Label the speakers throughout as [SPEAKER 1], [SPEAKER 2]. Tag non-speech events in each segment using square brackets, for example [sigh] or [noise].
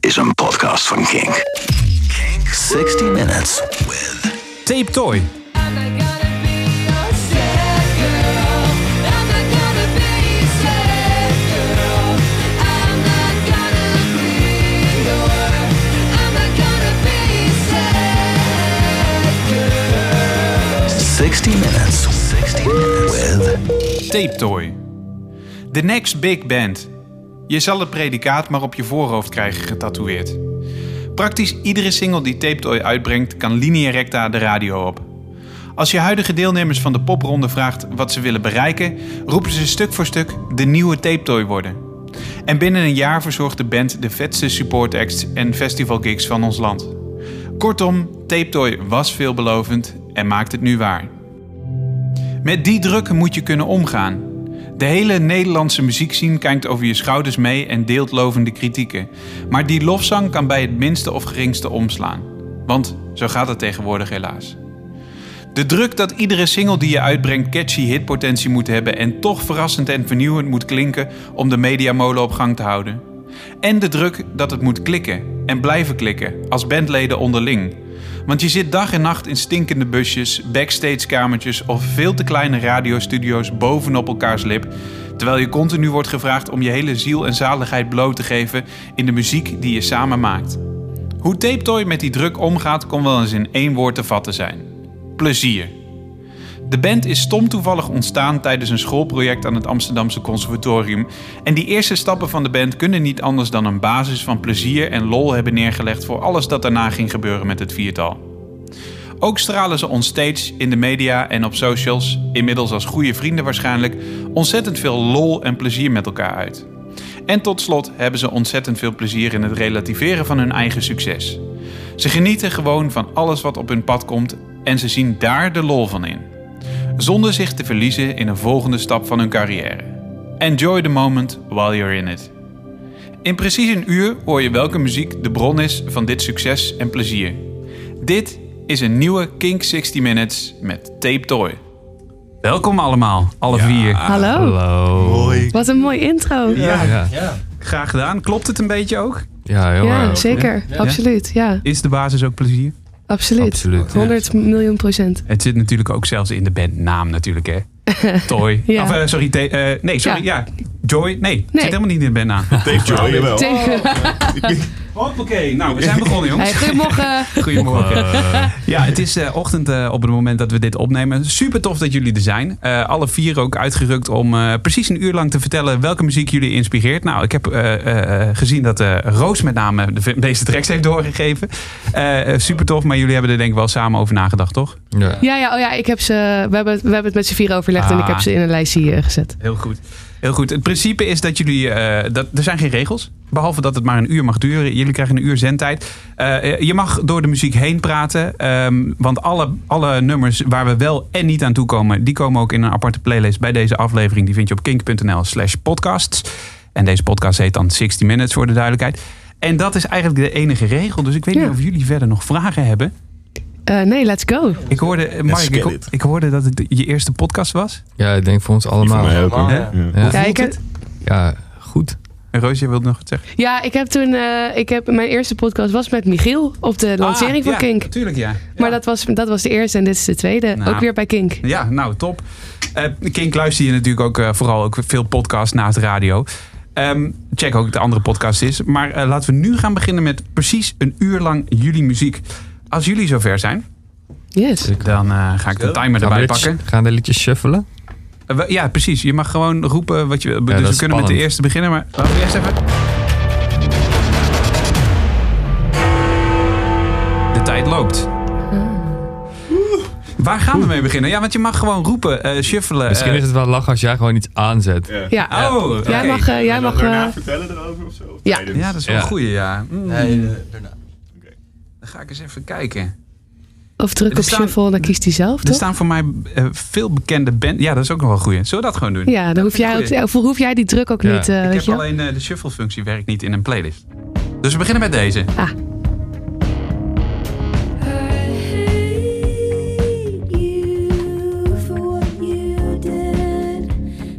[SPEAKER 1] is een podcast van Kink. 60 Minutes with
[SPEAKER 2] Tape Toy.
[SPEAKER 3] I'm not gonna be no sad girl. I'm not gonna be sad girl. I'm not gonna be your. I'm not gonna be sad girl.
[SPEAKER 1] 60 Minutes. 60 Minutes with
[SPEAKER 2] Tape Toy. The Next Big Band. Je zal het predicaat maar op je voorhoofd krijgen getatoeëerd. Praktisch iedere single die Tape Toy uitbrengt kan linea recta de radio op. Als je huidige deelnemers van de popronde vraagt wat ze willen bereiken, roepen ze stuk voor stuk de nieuwe Tape Toy worden. En binnen een jaar verzorgt de band de vetste support acts en festivalgigs van ons land. Kortom, Tape Toy was veelbelovend en maakt het nu waar. Met die druk moet je kunnen omgaan. De hele Nederlandse muziekscene kijkt over je schouders mee en deelt lovende kritieken. Maar die lofzang kan bij het minste of geringste omslaan. Want zo gaat het tegenwoordig helaas. De druk dat iedere single die je uitbrengt catchy hitpotentie moet hebben en toch verrassend en vernieuwend moet klinken om de mediamolen op gang te houden. En de druk dat het moet klikken en blijven klikken als bandleden onderling. Want je zit dag en nacht in stinkende busjes, backstagekamertjes of veel te kleine radiostudio's bovenop elkaars lip, terwijl je continu wordt gevraagd om je hele ziel en zaligheid bloot te geven in de muziek die je samen maakt. Hoe Tape Toy met die druk omgaat kon wel eens in één woord te vatten zijn plezier. De band is stom toevallig ontstaan tijdens een schoolproject aan het Amsterdamse Conservatorium. En die eerste stappen van de band kunnen niet anders dan een basis van plezier en lol hebben neergelegd voor alles dat daarna ging gebeuren met het viertal. Ook stralen ze onstage, in de media en op socials, inmiddels als goede vrienden waarschijnlijk, ontzettend veel lol en plezier met elkaar uit. En tot slot hebben ze ontzettend veel plezier in het relativeren van hun eigen succes. Ze genieten gewoon van alles wat op hun pad komt en ze zien daar de lol van in. Zonder zich te verliezen in een volgende stap van hun carrière. Enjoy the moment while you're in it. In precies een uur hoor je welke muziek de bron is van dit succes en plezier. Dit is een nieuwe Kink 60 Minutes met Tape Toy. Welkom allemaal, alle vier.
[SPEAKER 4] Hallo.
[SPEAKER 5] Hoi.
[SPEAKER 4] Wat een mooi intro. Ja,
[SPEAKER 5] Ja,
[SPEAKER 2] Graag gedaan. Klopt het een beetje ook?
[SPEAKER 5] ja heel erg.
[SPEAKER 4] zeker. Absoluut. Ja,
[SPEAKER 2] Is de basis ook plezier?
[SPEAKER 4] absoluut.
[SPEAKER 5] Absoluut.
[SPEAKER 4] 100 miljoen procent.
[SPEAKER 2] Het zit natuurlijk ook zelfs in de bandnaam natuurlijk, hè?
[SPEAKER 4] [laughs]
[SPEAKER 2] Toy.
[SPEAKER 4] Ja.
[SPEAKER 2] Of, eh, sorry, te- eh, nee, sorry, ja. Joy. Nee, het zit
[SPEAKER 4] Nee.
[SPEAKER 2] helemaal niet in de
[SPEAKER 4] [laughs]
[SPEAKER 2] bandnaam.
[SPEAKER 6] Dave Joy, jawel.
[SPEAKER 4] Tegen.
[SPEAKER 2] Hoppakee. Nou, we zijn begonnen,
[SPEAKER 4] Hey,
[SPEAKER 2] jongens.
[SPEAKER 4] goedemorgen.
[SPEAKER 2] [laughs] Goedemorgen.
[SPEAKER 5] Eh,
[SPEAKER 2] Ja, het is eh, ochtend eh, op het moment dat we dit opnemen. Super tof dat jullie er zijn. Eh, alle vier ook uitgerukt om eh, precies een uur lang te vertellen welke muziek jullie inspireert. Nou, ik heb eh, eh, gezien dat eh, Roos met name de meeste tracks heeft doorgegeven. Eh, eh, super tof, maar jullie hebben er denk ik wel samen over nagedacht, toch?
[SPEAKER 5] ja.
[SPEAKER 4] Ja, ja, oh ja, ik heb ze, we, hebben, we hebben het met z'n vier overlegd en ik heb ze in een lijstje eh, gezet.
[SPEAKER 2] Heel goed. Heel goed. Het principe is dat jullie. eh, dat, er zijn geen regels. Behalve dat het maar een uur mag duren. Jullie krijgen een uur zendtijd. Eh, je mag door de muziek heen praten. ehm, want alle, alle nummers waar we wel en niet aan toe komen. die komen ook in een aparte playlist bij deze aflevering. Die vind je op kink.nl/slash podcasts. En deze podcast heet dan 60 Minutes voor de duidelijkheid. En dat is eigenlijk de enige regel. Dus ik weet
[SPEAKER 4] Ja.
[SPEAKER 2] niet of jullie verder nog vragen hebben.
[SPEAKER 4] Eh, nee, let's go.
[SPEAKER 2] Ik hoorde, eh, Mark,
[SPEAKER 6] get
[SPEAKER 2] ik, ho-
[SPEAKER 6] it.
[SPEAKER 2] ik hoorde dat het je eerste podcast was.
[SPEAKER 5] ja, ik denk voor ons
[SPEAKER 6] Die van
[SPEAKER 5] allemaal.
[SPEAKER 6] mij ook. hoor.
[SPEAKER 2] Hè?
[SPEAKER 6] Ja.
[SPEAKER 5] Ja,
[SPEAKER 4] Ja, ik,
[SPEAKER 2] voelt
[SPEAKER 4] heb,
[SPEAKER 5] ja, goed.
[SPEAKER 2] En Roos, je wilt nog wat zeggen?
[SPEAKER 4] ja, ik heb toen, eh, ik heb, mijn eerste podcast was met Michiel op de lancering
[SPEAKER 2] Ah,
[SPEAKER 4] van
[SPEAKER 2] ja,
[SPEAKER 4] Kink.
[SPEAKER 2] Tuurlijk, ja.
[SPEAKER 4] Maar
[SPEAKER 2] Ja.
[SPEAKER 4] dat was, dat was de eerste en dit is de tweede.
[SPEAKER 2] Nou.
[SPEAKER 4] Ook weer bij Kink.
[SPEAKER 2] Ja, nou top. Eh, Kink luister je natuurlijk ook eh, vooral ook veel podcasts naast radio. Ehm, check ook de andere podcast is. Maar eh, laten we nu gaan beginnen met precies een uur lang jullie muziek. Als jullie zover zijn,
[SPEAKER 4] Yes.
[SPEAKER 2] dan eh, ga ik de timer
[SPEAKER 5] Gaan we
[SPEAKER 2] erbij
[SPEAKER 5] dit-
[SPEAKER 2] pakken.
[SPEAKER 5] Nou, Gaan we de liedjes shuffelen?
[SPEAKER 2] Eh, we- ja, precies. Je mag gewoon roepen wat je wil.
[SPEAKER 5] dat
[SPEAKER 2] dus we kunnen met
[SPEAKER 5] is
[SPEAKER 2] de
[SPEAKER 5] spannend.
[SPEAKER 2] eerste beginnen. Maar laten we eerst even... De tijd loopt.
[SPEAKER 4] Hmm.
[SPEAKER 2] Waar gaan we mee beginnen? Ja, want je mag gewoon roepen, eh shuffelen.
[SPEAKER 5] Misschien
[SPEAKER 2] eh,
[SPEAKER 5] is het wel lachen als jij gewoon iets aanzet.
[SPEAKER 6] Ja.
[SPEAKER 4] Ja.
[SPEAKER 2] Oh, oké.
[SPEAKER 4] Jij mag, eh, jij
[SPEAKER 6] En
[SPEAKER 4] mag
[SPEAKER 6] dan daarna
[SPEAKER 4] eh,
[SPEAKER 6] vertellen erover of zo? Of
[SPEAKER 4] Ja.
[SPEAKER 6] tijdens?
[SPEAKER 2] Ja, dat is wel
[SPEAKER 5] Ja.
[SPEAKER 2] een goeie, ja. Mm.
[SPEAKER 4] eh,
[SPEAKER 7] daarna.
[SPEAKER 2] Dan ga ik eens even kijken.
[SPEAKER 4] of druk
[SPEAKER 2] Er
[SPEAKER 4] op
[SPEAKER 2] staan-
[SPEAKER 4] shuffle en dan kiest hij zelf,
[SPEAKER 2] Er
[SPEAKER 4] toch?
[SPEAKER 2] staan voor mij eh, veel bekende bands. Ja, dat is ook nog wel een goeie. Zullen we dat gewoon doen?
[SPEAKER 4] Ja, dan hoef jij, ook,
[SPEAKER 2] Goeie.
[SPEAKER 4] ja, hoef jij die druk ook
[SPEAKER 5] Ja.
[SPEAKER 4] niet, eh,
[SPEAKER 2] Ik
[SPEAKER 4] weet
[SPEAKER 2] heb
[SPEAKER 4] je wel.
[SPEAKER 2] alleen eh, de shuffle-functie werkt niet in een playlist. Dus we beginnen met deze.
[SPEAKER 4] Ah.
[SPEAKER 3] I hate you for what you did,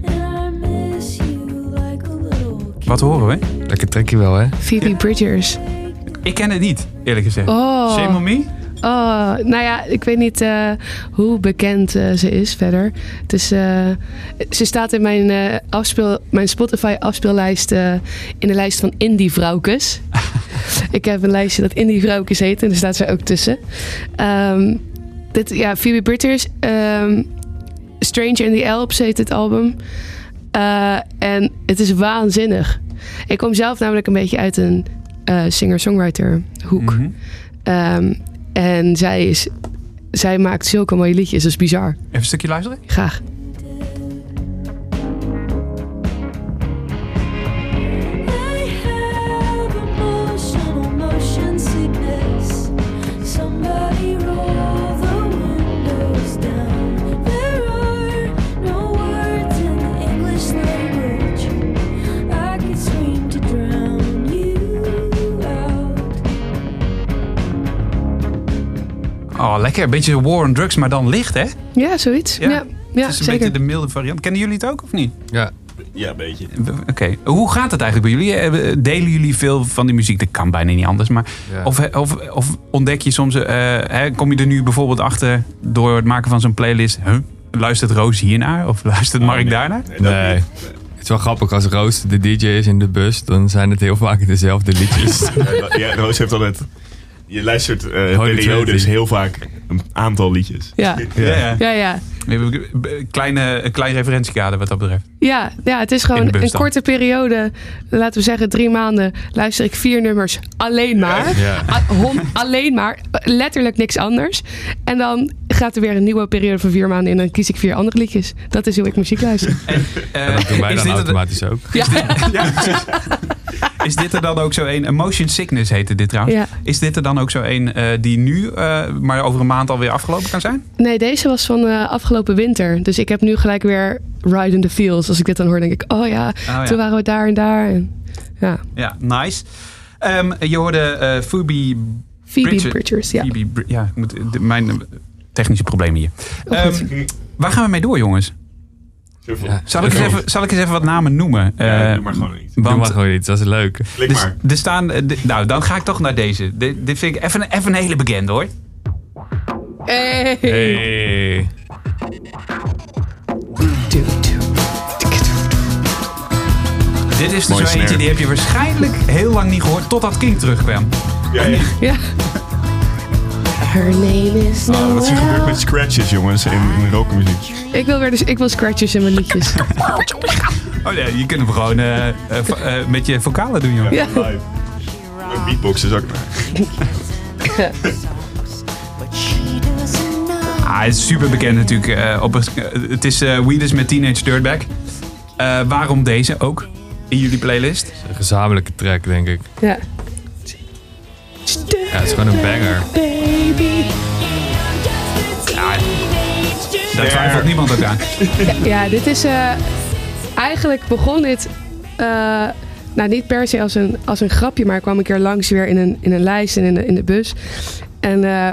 [SPEAKER 3] and I miss you like a little
[SPEAKER 2] Wat horen we?
[SPEAKER 5] De Lekker trekje wel, hè?
[SPEAKER 4] Phoebe Bridgers.
[SPEAKER 2] Ik ken het niet, eerlijk gezegd.
[SPEAKER 4] Oh.
[SPEAKER 2] Shame on me?
[SPEAKER 4] Oh, nou ja, ik weet niet eh, hoe bekend eh, ze is verder. Het is, eh, ze staat in mijn, eh, afspeel, mijn Spotify afspeellijst eh, in de lijst van indie vrouwkes. ik heb een lijstje dat indie vrouwkes heet en daar staat ze ook tussen. Ehm, dit, ja, Phoebe Bridgers, ehm, Stranger in the Alps heet het album. Eh, en het is waanzinnig. Ik kom zelf namelijk een beetje uit een eh, singer-songwriter hoek.
[SPEAKER 2] Mhm.
[SPEAKER 4] Ehm, en zij, is, zij maakt zulke mooie liedjes. Dat is bizar.
[SPEAKER 2] Even een stukje luisteren.
[SPEAKER 4] Graag.
[SPEAKER 3] I have emotional motion sickness. Somebody roll the windows down. There are no words in the English language. I could scream to drown you out.
[SPEAKER 2] Oh, lekker. Een beetje war on drugs, maar dan licht, hè?
[SPEAKER 4] Ja, zoiets. Ja, ja,
[SPEAKER 2] het is een
[SPEAKER 4] zeker.
[SPEAKER 2] beetje de milde variant. Kennen jullie het ook of niet?
[SPEAKER 5] Ja.
[SPEAKER 6] Ja, een beetje.
[SPEAKER 2] Oké, hoe gaat het eigenlijk bij jullie? Eh, Delen jullie veel van die muziek? Dat kan bijna niet anders. Maar
[SPEAKER 5] Ja.
[SPEAKER 2] of, eh, of, of ontdek je soms, eh, hè, kom je er nu bijvoorbeeld achter door het maken van zo'n playlist? Huh? Luistert Roos hiernaar of luistert Mark
[SPEAKER 6] nee.
[SPEAKER 2] daarnaar?
[SPEAKER 6] Nee, dat
[SPEAKER 5] Oh, Nee.
[SPEAKER 6] niet.
[SPEAKER 5] Het is wel grappig als Roos de DJ is in de bus, dan zijn het heel vaak dezelfde
[SPEAKER 2] [laughs]
[SPEAKER 5] liedjes.
[SPEAKER 6] Ja, ja, Roos heeft altijd... Je luistert eh
[SPEAKER 5] Holy
[SPEAKER 6] periodes
[SPEAKER 5] Trinity.
[SPEAKER 6] heel vaak een aantal liedjes.
[SPEAKER 2] [laughs]
[SPEAKER 4] Ja.
[SPEAKER 2] Ja, ja.
[SPEAKER 4] Ja, ja.
[SPEAKER 2] Een Kleine, een klein referentiekader wat dat betreft.
[SPEAKER 4] Ja, ja, het is
[SPEAKER 2] In de
[SPEAKER 4] gewoon
[SPEAKER 2] bus
[SPEAKER 4] een
[SPEAKER 2] dan.
[SPEAKER 4] korte periode. Laten we zeggen drie maanden. Luister ik vier nummers alleen maar.
[SPEAKER 5] Ja.
[SPEAKER 4] A- hon- alleen maar. Letterlijk niks anders. En dan gaat er weer een nieuwe periode van vier maanden in. En dan kies ik vier andere liedjes. Dat is hoe ik muziek luister.
[SPEAKER 2] Eh,
[SPEAKER 5] Dat doen wij
[SPEAKER 2] is
[SPEAKER 5] dan
[SPEAKER 2] dit het-
[SPEAKER 5] automatisch ook.
[SPEAKER 4] Ja,
[SPEAKER 2] Is dit er dan ook zo een? Emotion Sickness heette dit trouwens.
[SPEAKER 4] Ja.
[SPEAKER 2] Is dit er dan ook zo een eh, die nu, eh, maar over een maand alweer afgelopen kan zijn?
[SPEAKER 4] Nee, deze was van eh, afgelopen winter. Dus ik heb nu gelijk weer Ride in the Fields. Als ik dit dan hoor, denk ik, oh ja,
[SPEAKER 2] Ah, ja.
[SPEAKER 4] toen waren we daar en daar. En, ja,
[SPEAKER 2] Ja, nice. Ehm, je hoorde eh Phoebe
[SPEAKER 4] Phoebe
[SPEAKER 2] Bridger-
[SPEAKER 4] Bridgers, ja.
[SPEAKER 2] Phoebe Bri- ja, ik moet, de- mijn eh, technische problemen hier.
[SPEAKER 4] Oh, goed.
[SPEAKER 2] Ehm, waar gaan we mee door, jongens?
[SPEAKER 6] Zoveel.
[SPEAKER 5] Ja.
[SPEAKER 2] Zal ik, eens even, zal ik eens even wat namen noemen?
[SPEAKER 6] Ja,
[SPEAKER 2] Eh,
[SPEAKER 6] doe maar gewoon niet.
[SPEAKER 5] Doe maar
[SPEAKER 2] Want
[SPEAKER 5] gewoon iets, dat is leuk.
[SPEAKER 6] Klik
[SPEAKER 2] dus,
[SPEAKER 6] maar.
[SPEAKER 2] er staan. eh, de- nou, dan ga ik toch naar deze. Dit, dit vind ik even, even een hele bekende hoor.
[SPEAKER 4] Hey.
[SPEAKER 5] Hey.
[SPEAKER 2] Dit is er
[SPEAKER 6] Mooie
[SPEAKER 2] zo eentje,
[SPEAKER 6] snare.
[SPEAKER 2] die heb je waarschijnlijk heel lang niet gehoord totdat King terugkwam.
[SPEAKER 6] Ja, ja.
[SPEAKER 4] Ja. Her name is
[SPEAKER 6] Ah, wat is er gebeurd met scratches, jongens, in, in rockmuziek?
[SPEAKER 4] Ik wil weer dus, ik wil scratches in mijn
[SPEAKER 2] [laughs]
[SPEAKER 4] liedjes.
[SPEAKER 2] Oh nee, je kunt hem gewoon eh, eh, vo- eh, met je vocalen doen, joh.
[SPEAKER 4] Ja.
[SPEAKER 6] Live. Een beatbox is ook maar.
[SPEAKER 3] She doesn't know.
[SPEAKER 2] Ah, het is super bekend natuurlijk. eh, op, een- eh, het is eh Weedus met Teenage Dirtbag. Eh, waarom deze ook in jullie playlist?
[SPEAKER 5] Een gezamenlijke track, denk ik.
[SPEAKER 4] Ja.
[SPEAKER 5] Ja, het is gewoon een banger.
[SPEAKER 4] Baby.
[SPEAKER 2] Daar twijfelt niemand ook aan.
[SPEAKER 4] Ja, dit is eh, eigenlijk begon dit. eh, nou, niet per se als een, als een grapje, maar ik kwam een keer langs weer in een, in een lijst en in de, in de bus. En eh,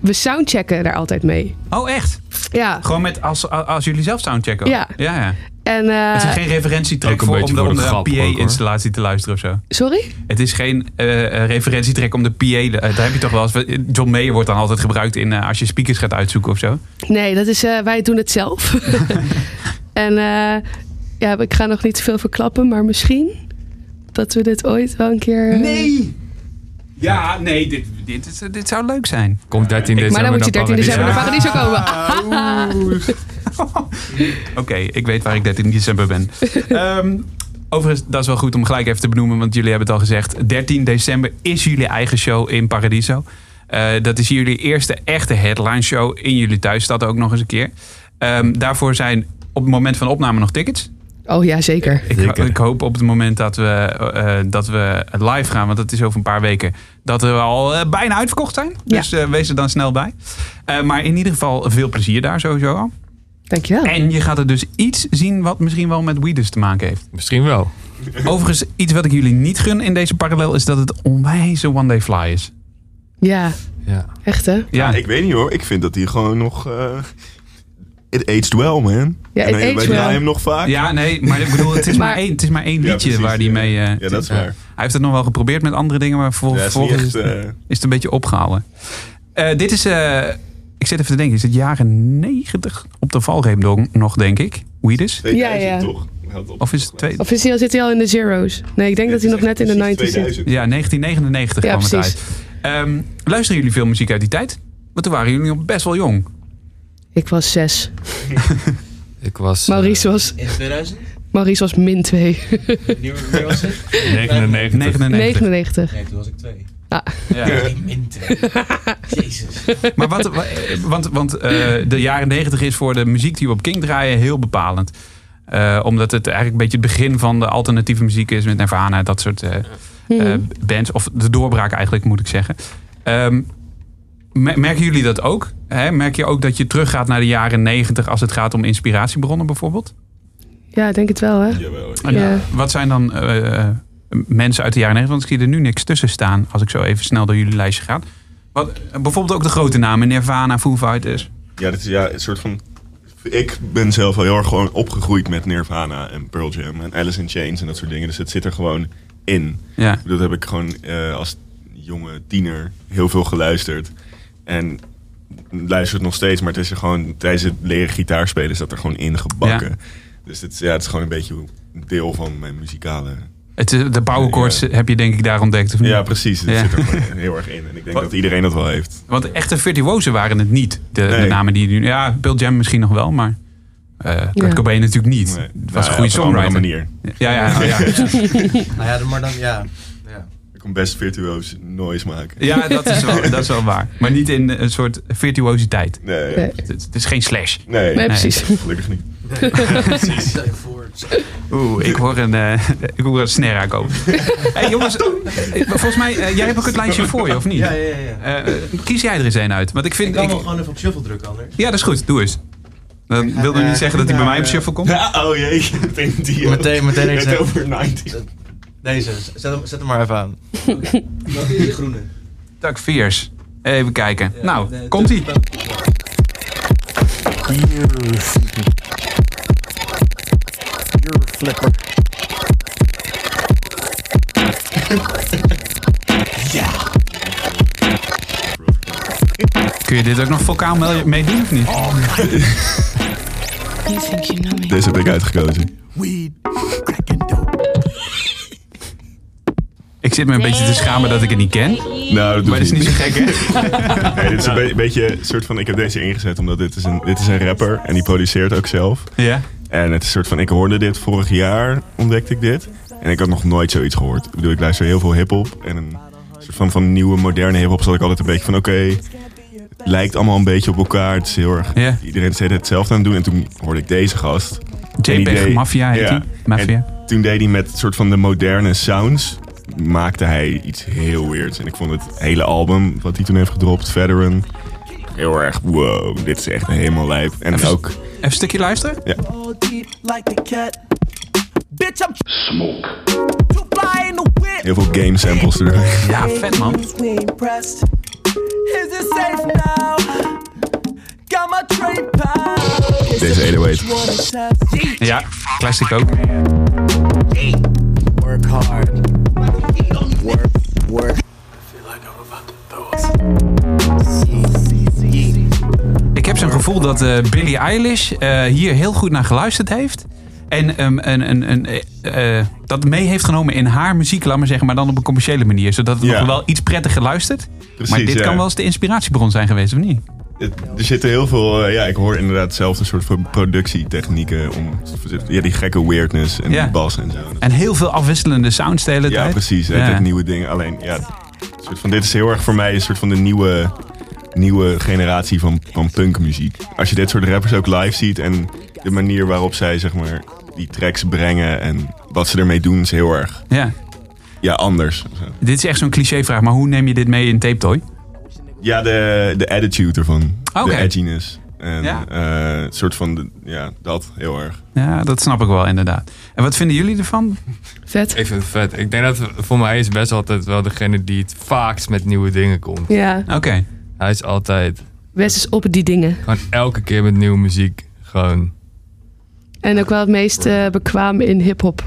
[SPEAKER 4] we soundchecken daar altijd mee.
[SPEAKER 2] Oh, echt?
[SPEAKER 4] Ja.
[SPEAKER 2] Gewoon met als, als jullie zelf soundchecken? ook?
[SPEAKER 4] Ja.
[SPEAKER 2] ja, ja.
[SPEAKER 4] En, eh,
[SPEAKER 2] Het is geen referentietrack
[SPEAKER 5] Ook een
[SPEAKER 2] voor, om
[SPEAKER 5] beetje
[SPEAKER 2] de,
[SPEAKER 5] voor
[SPEAKER 2] om
[SPEAKER 5] de
[SPEAKER 2] de
[SPEAKER 5] grap ook, hoor.
[SPEAKER 2] PA-installatie te luisteren of zo.
[SPEAKER 4] Sorry?
[SPEAKER 2] Het is geen eh eh, referentietrack om de PA... eh, daar heb je toch wel eens... eh, John Mayer wordt dan altijd gebruikt in, eh, als je speakers gaat uitzoeken of zo.
[SPEAKER 4] Nee, dat is, eh, wij doen het zelf. en eh, ja, ik ga nog niet te veel verklappen, maar misschien dat we dit ooit wel een keer... eh,
[SPEAKER 2] Ja, nee, dit, dit, is- dit zou leuk zijn.
[SPEAKER 5] Komt 13 december
[SPEAKER 4] Maar dan moet je 13 december naar
[SPEAKER 5] Paradiso.
[SPEAKER 4] Paradiso komen.
[SPEAKER 2] [laughs] Oké, ik weet waar ik 13 december ben. Ehm, overigens, dat is wel goed om gelijk even te benoemen, want jullie hebben het al gezegd. 13 december is jullie eigen show in Paradiso. Eh, dat is jullie eerste echte headline show in jullie thuisstad ook nog eens een keer. Ehm, daarvoor zijn op het moment van opname nog tickets.
[SPEAKER 4] Oh ja, zeker.
[SPEAKER 2] Ik,
[SPEAKER 5] Zeker.
[SPEAKER 2] ik hoop op het moment dat we, eh, dat we live gaan, want dat is over een paar weken, dat we al eh, bijna uitverkocht zijn.
[SPEAKER 4] Ja.
[SPEAKER 2] Dus eh, wees er dan snel bij. Eh, maar in ieder geval veel plezier daar sowieso al.
[SPEAKER 4] Dankjewel.
[SPEAKER 2] En je gaat er dus iets zien wat misschien wel met Weedus te maken
[SPEAKER 6] [laughs]
[SPEAKER 2] heeft.
[SPEAKER 5] Misschien wel.
[SPEAKER 2] Overigens, iets wat ik jullie niet gun in deze parallel is dat het onwijze One Day Fly is.
[SPEAKER 4] Ja,
[SPEAKER 5] Ja.
[SPEAKER 4] echt hè?
[SPEAKER 2] Ja,
[SPEAKER 6] Ik weet niet hoor, ik vind dat hij gewoon nog... eh, It aged well, man.
[SPEAKER 4] Ja, it
[SPEAKER 6] en
[SPEAKER 4] aged
[SPEAKER 6] wij
[SPEAKER 4] well.
[SPEAKER 6] draaien hem nog vaak.
[SPEAKER 2] Ja, nee, maar ik bedoel, het is maar,
[SPEAKER 4] Maar-
[SPEAKER 2] één, het is maar één
[SPEAKER 6] Ja,
[SPEAKER 2] liedje
[SPEAKER 6] precies,
[SPEAKER 2] waar die
[SPEAKER 6] ja.
[SPEAKER 2] mee... eh,
[SPEAKER 6] Ja, dat is waar.
[SPEAKER 2] Hij heeft het nog wel geprobeerd met andere dingen, maar vervol-
[SPEAKER 6] Ja, is niet
[SPEAKER 2] vervolgens
[SPEAKER 6] echt,
[SPEAKER 2] is,
[SPEAKER 6] eh,
[SPEAKER 2] het een beetje opgehouden. Eh, dit is, eh, ik zit even te denken, is het jaren 90 op de valreep dong- nog, denk ik? Weedus?
[SPEAKER 6] 2000
[SPEAKER 4] ja.
[SPEAKER 6] toch? Hij had op-
[SPEAKER 2] Of is het twee-
[SPEAKER 4] Of is hij, al- zit hij al in de zeros? Nee, ik denk dat hij nog net in de 90 zit.
[SPEAKER 6] 2000.
[SPEAKER 2] Ja, 1999
[SPEAKER 4] Ja,
[SPEAKER 2] kwam het
[SPEAKER 4] precies.
[SPEAKER 2] uit. Ehm, luisteren jullie veel muziek uit die tijd? Want toen waren jullie nog best wel jong.
[SPEAKER 4] Ik was zes.
[SPEAKER 5] Ik was eh,
[SPEAKER 4] Maurice was,
[SPEAKER 7] In 2000?
[SPEAKER 4] Maurice was min 2.
[SPEAKER 7] Wanneer wanneer was het?
[SPEAKER 5] 99.
[SPEAKER 2] 99.
[SPEAKER 4] 99.
[SPEAKER 7] Nee, toen was ik twee.
[SPEAKER 2] Ja.
[SPEAKER 7] Geen min twee. Jezus.
[SPEAKER 2] Maar wat, wa- eh, want, want eh, de jaren 90 is voor de muziek die we op King draaien heel bepalend. Eh, omdat het eigenlijk een beetje het begin van de alternatieve muziek is met Nirvana, dat soort eh, eh, bands. Of de doorbraak eigenlijk, moet ik zeggen. Ehm, me- merken jullie dat ook? Hè? Merk je ook dat je teruggaat naar de jaren 90 als het gaat om inspiratiebronnen bijvoorbeeld?
[SPEAKER 4] Ja, ik denk het wel, hè?
[SPEAKER 6] Jawel, ja.
[SPEAKER 2] En,
[SPEAKER 4] Ja.
[SPEAKER 2] eh, Wat zijn dan eh, eh, mensen uit de jaren 90? Want ik zie er nu niks tussen staan als ik zo even snel door jullie lijstje ga. Wat, eh, bijvoorbeeld ook de grote namen, Nirvana, Foo Fighters.
[SPEAKER 6] Ja, dit is ja, een soort van... Ik ben zelf wel heel erg gewoon opgegroeid met Nirvana en Pearl Jam en Alice in Chains en dat soort dingen. Dus het zit er gewoon in.
[SPEAKER 2] Ja.
[SPEAKER 6] Dat heb ik gewoon eh, als jonge tiener heel veel geluisterd. En luister het nog steeds, maar het is er gewoon tijdens het leren gitaarspelen is dat er gewoon ingebakken.
[SPEAKER 2] Ja.
[SPEAKER 6] Dus het, is- ja, het is gewoon een beetje een deel van mijn muzikale.
[SPEAKER 2] Het, eh, de power chords
[SPEAKER 6] Ja.
[SPEAKER 2] heb je denk ik daar ontdekt. Of niet?
[SPEAKER 6] Ja, precies. Het
[SPEAKER 2] Ja.
[SPEAKER 6] zit er gewoon heel erg in. En ik denk
[SPEAKER 2] Wat-
[SPEAKER 6] dat iedereen dat wel heeft.
[SPEAKER 2] Want echte virtuozen waren het niet. De, de
[SPEAKER 6] Nee.
[SPEAKER 2] namen die je nu... Ja, Bill Jam misschien nog wel, maar... eh Kurt
[SPEAKER 4] Ja.
[SPEAKER 2] Cobain natuurlijk niet.
[SPEAKER 6] Nee.
[SPEAKER 2] Het
[SPEAKER 6] Nou
[SPEAKER 2] was
[SPEAKER 6] ja,
[SPEAKER 2] een goede
[SPEAKER 6] op andere
[SPEAKER 2] songwriter.
[SPEAKER 6] manier.
[SPEAKER 2] Ja, ja, ja.
[SPEAKER 6] [laughs]
[SPEAKER 2] ja.
[SPEAKER 5] eh,
[SPEAKER 7] Nou ja, maar dan, ja. ja.
[SPEAKER 6] Ik kon best virtuoos noise maken.
[SPEAKER 2] ja dat, is wel, dat is wel waar. Maar niet in een soort virtuositeit.
[SPEAKER 6] Nee,
[SPEAKER 4] Nee,
[SPEAKER 6] nee.
[SPEAKER 2] Het, het is geen slash.
[SPEAKER 4] nee, precies.
[SPEAKER 6] gelukkig niet.
[SPEAKER 7] Precies. Stel je voor.
[SPEAKER 2] Oeh, ik hoor een, eh, [laughs] ik hoor een snare
[SPEAKER 6] [laughs]
[SPEAKER 2] aankomen. hey, jongens, eh, volgens mij, eh, jij hebt ook het lijstje voor je, of niet?
[SPEAKER 7] Ja, ja, ja. ja.
[SPEAKER 2] Eh, eh, kies jij er eens een uit? Want ik
[SPEAKER 7] Ik
[SPEAKER 2] vind...
[SPEAKER 7] kan
[SPEAKER 2] ik-
[SPEAKER 7] wel gewoon even op shuffle drukken anders.
[SPEAKER 2] ja, dat is goed. Doe eens. Dan
[SPEAKER 7] ga
[SPEAKER 2] wilde
[SPEAKER 7] naar-
[SPEAKER 2] niet zeggen dat hij bij mij op shuffle komt.
[SPEAKER 6] Ja, [laughs] oh jee, [laughs] meteen die. ook.
[SPEAKER 7] Meteen- meteen
[SPEAKER 6] Net
[SPEAKER 7] iets-
[SPEAKER 6] over 90.
[SPEAKER 7] Deze, zet hem, zet hem maar even aan. Wat is die [laughs] groene?
[SPEAKER 2] Tak Veers. Even kijken. nou,
[SPEAKER 7] de-
[SPEAKER 2] komt ie. Kun je dit ook nog vocaal me- meedoen of niet?
[SPEAKER 6] Deze heb ik uitgekozen.
[SPEAKER 2] Ik zit me een beetje te schamen dat ik het niet ken.
[SPEAKER 6] Nou, dat doe
[SPEAKER 2] Maar dat is niet zo gek, hè?
[SPEAKER 6] Nee, dit is een be- beetje een soort van. Ik heb deze ingezet omdat dit is, een, dit is een rapper en die produceert ook zelf.
[SPEAKER 2] Ja.
[SPEAKER 6] En het is een soort van. Ik hoorde dit vorig jaar, ontdekte ik dit. En ik had nog nooit zoiets gehoord. Ik bedoel, ik luister heel veel hip-hop. En een soort van, van nieuwe, moderne hip-hop zat ik altijd een beetje van: oké, het lijkt allemaal een beetje op elkaar. Het is heel erg.
[SPEAKER 2] Ja.
[SPEAKER 6] Iedereen zit hetzelfde aan het doen. En toen hoorde ik deze gast. En die
[SPEAKER 2] JPEG
[SPEAKER 6] deed-
[SPEAKER 2] Mafia heet
[SPEAKER 6] Ja.
[SPEAKER 2] die. Mafia.
[SPEAKER 6] En toen deed hij met soort van de moderne sounds. Maakte hij iets heel weirds. En ik vond het hele album wat hij toen heeft gedropt, Veteran. Heel erg, wow, dit is echt helemaal lijp. En ook,
[SPEAKER 2] Even een stukje luisteren.
[SPEAKER 7] Oh,
[SPEAKER 6] heel veel game samples er. [laughs]
[SPEAKER 2] Ja, vet man.
[SPEAKER 6] Deze 808.
[SPEAKER 2] Ja, classic ook. Ik heb zo'n gevoel dat eh Billie Eilish eh, hier heel goed naar geluisterd heeft. En ehm, een, een, een, eh, eh, dat mee heeft genomen in haar muziek, laat maar zeggen, maar dan op een commerciële manier. Zodat het
[SPEAKER 6] Ja.
[SPEAKER 2] nog wel iets prettiger luistert. maar
[SPEAKER 6] Precies,
[SPEAKER 2] dit
[SPEAKER 6] ja.
[SPEAKER 2] kan wel eens de inspiratiebron zijn geweest, of niet?
[SPEAKER 6] Het- Er zitten heel veel, eh, ja, ik hoor inderdaad zelfs een soort van productietechnieken. Om, ja, die gekke weirdness en
[SPEAKER 2] Ja.
[SPEAKER 6] die bas en zo.
[SPEAKER 2] En heel veel afwisselende sounds de hele
[SPEAKER 6] Ja,
[SPEAKER 2] tijd.
[SPEAKER 6] precies. Het,
[SPEAKER 2] Ja.
[SPEAKER 6] het nieuwe ding. Alleen, ja, het soort van, dit is heel erg voor mij een soort van de nieuwe, nieuwe generatie van, van punkmuziek. Als je dit soort rappers ook live ziet en de manier waarop zij zeg maar, die tracks brengen en wat ze ermee doen, is heel erg
[SPEAKER 2] Ja.
[SPEAKER 6] ja, anders. of zo.
[SPEAKER 2] Dit is echt zo'n clichévraag, maar hoe neem je dit mee in Tape Toy?
[SPEAKER 6] Ja, de, de attitude ervan.
[SPEAKER 2] Oké.
[SPEAKER 6] De edginess. En
[SPEAKER 2] Ja.
[SPEAKER 6] eh, het soort van, de- ja, dat heel erg.
[SPEAKER 2] Ja, dat snap ik wel inderdaad. En wat vinden jullie ervan?
[SPEAKER 4] Vet.
[SPEAKER 5] Ik vind het vet. Ik denk dat voor mij is best altijd wel degene die het vaakst met nieuwe dingen komt.
[SPEAKER 4] Ja,
[SPEAKER 2] Oké.
[SPEAKER 5] Hij is altijd
[SPEAKER 4] Wes is op die dingen.
[SPEAKER 5] gewoon elke keer met nieuwe muziek. Gewoon.
[SPEAKER 4] En ook wel het meest eh, bekwaam in hip-hop.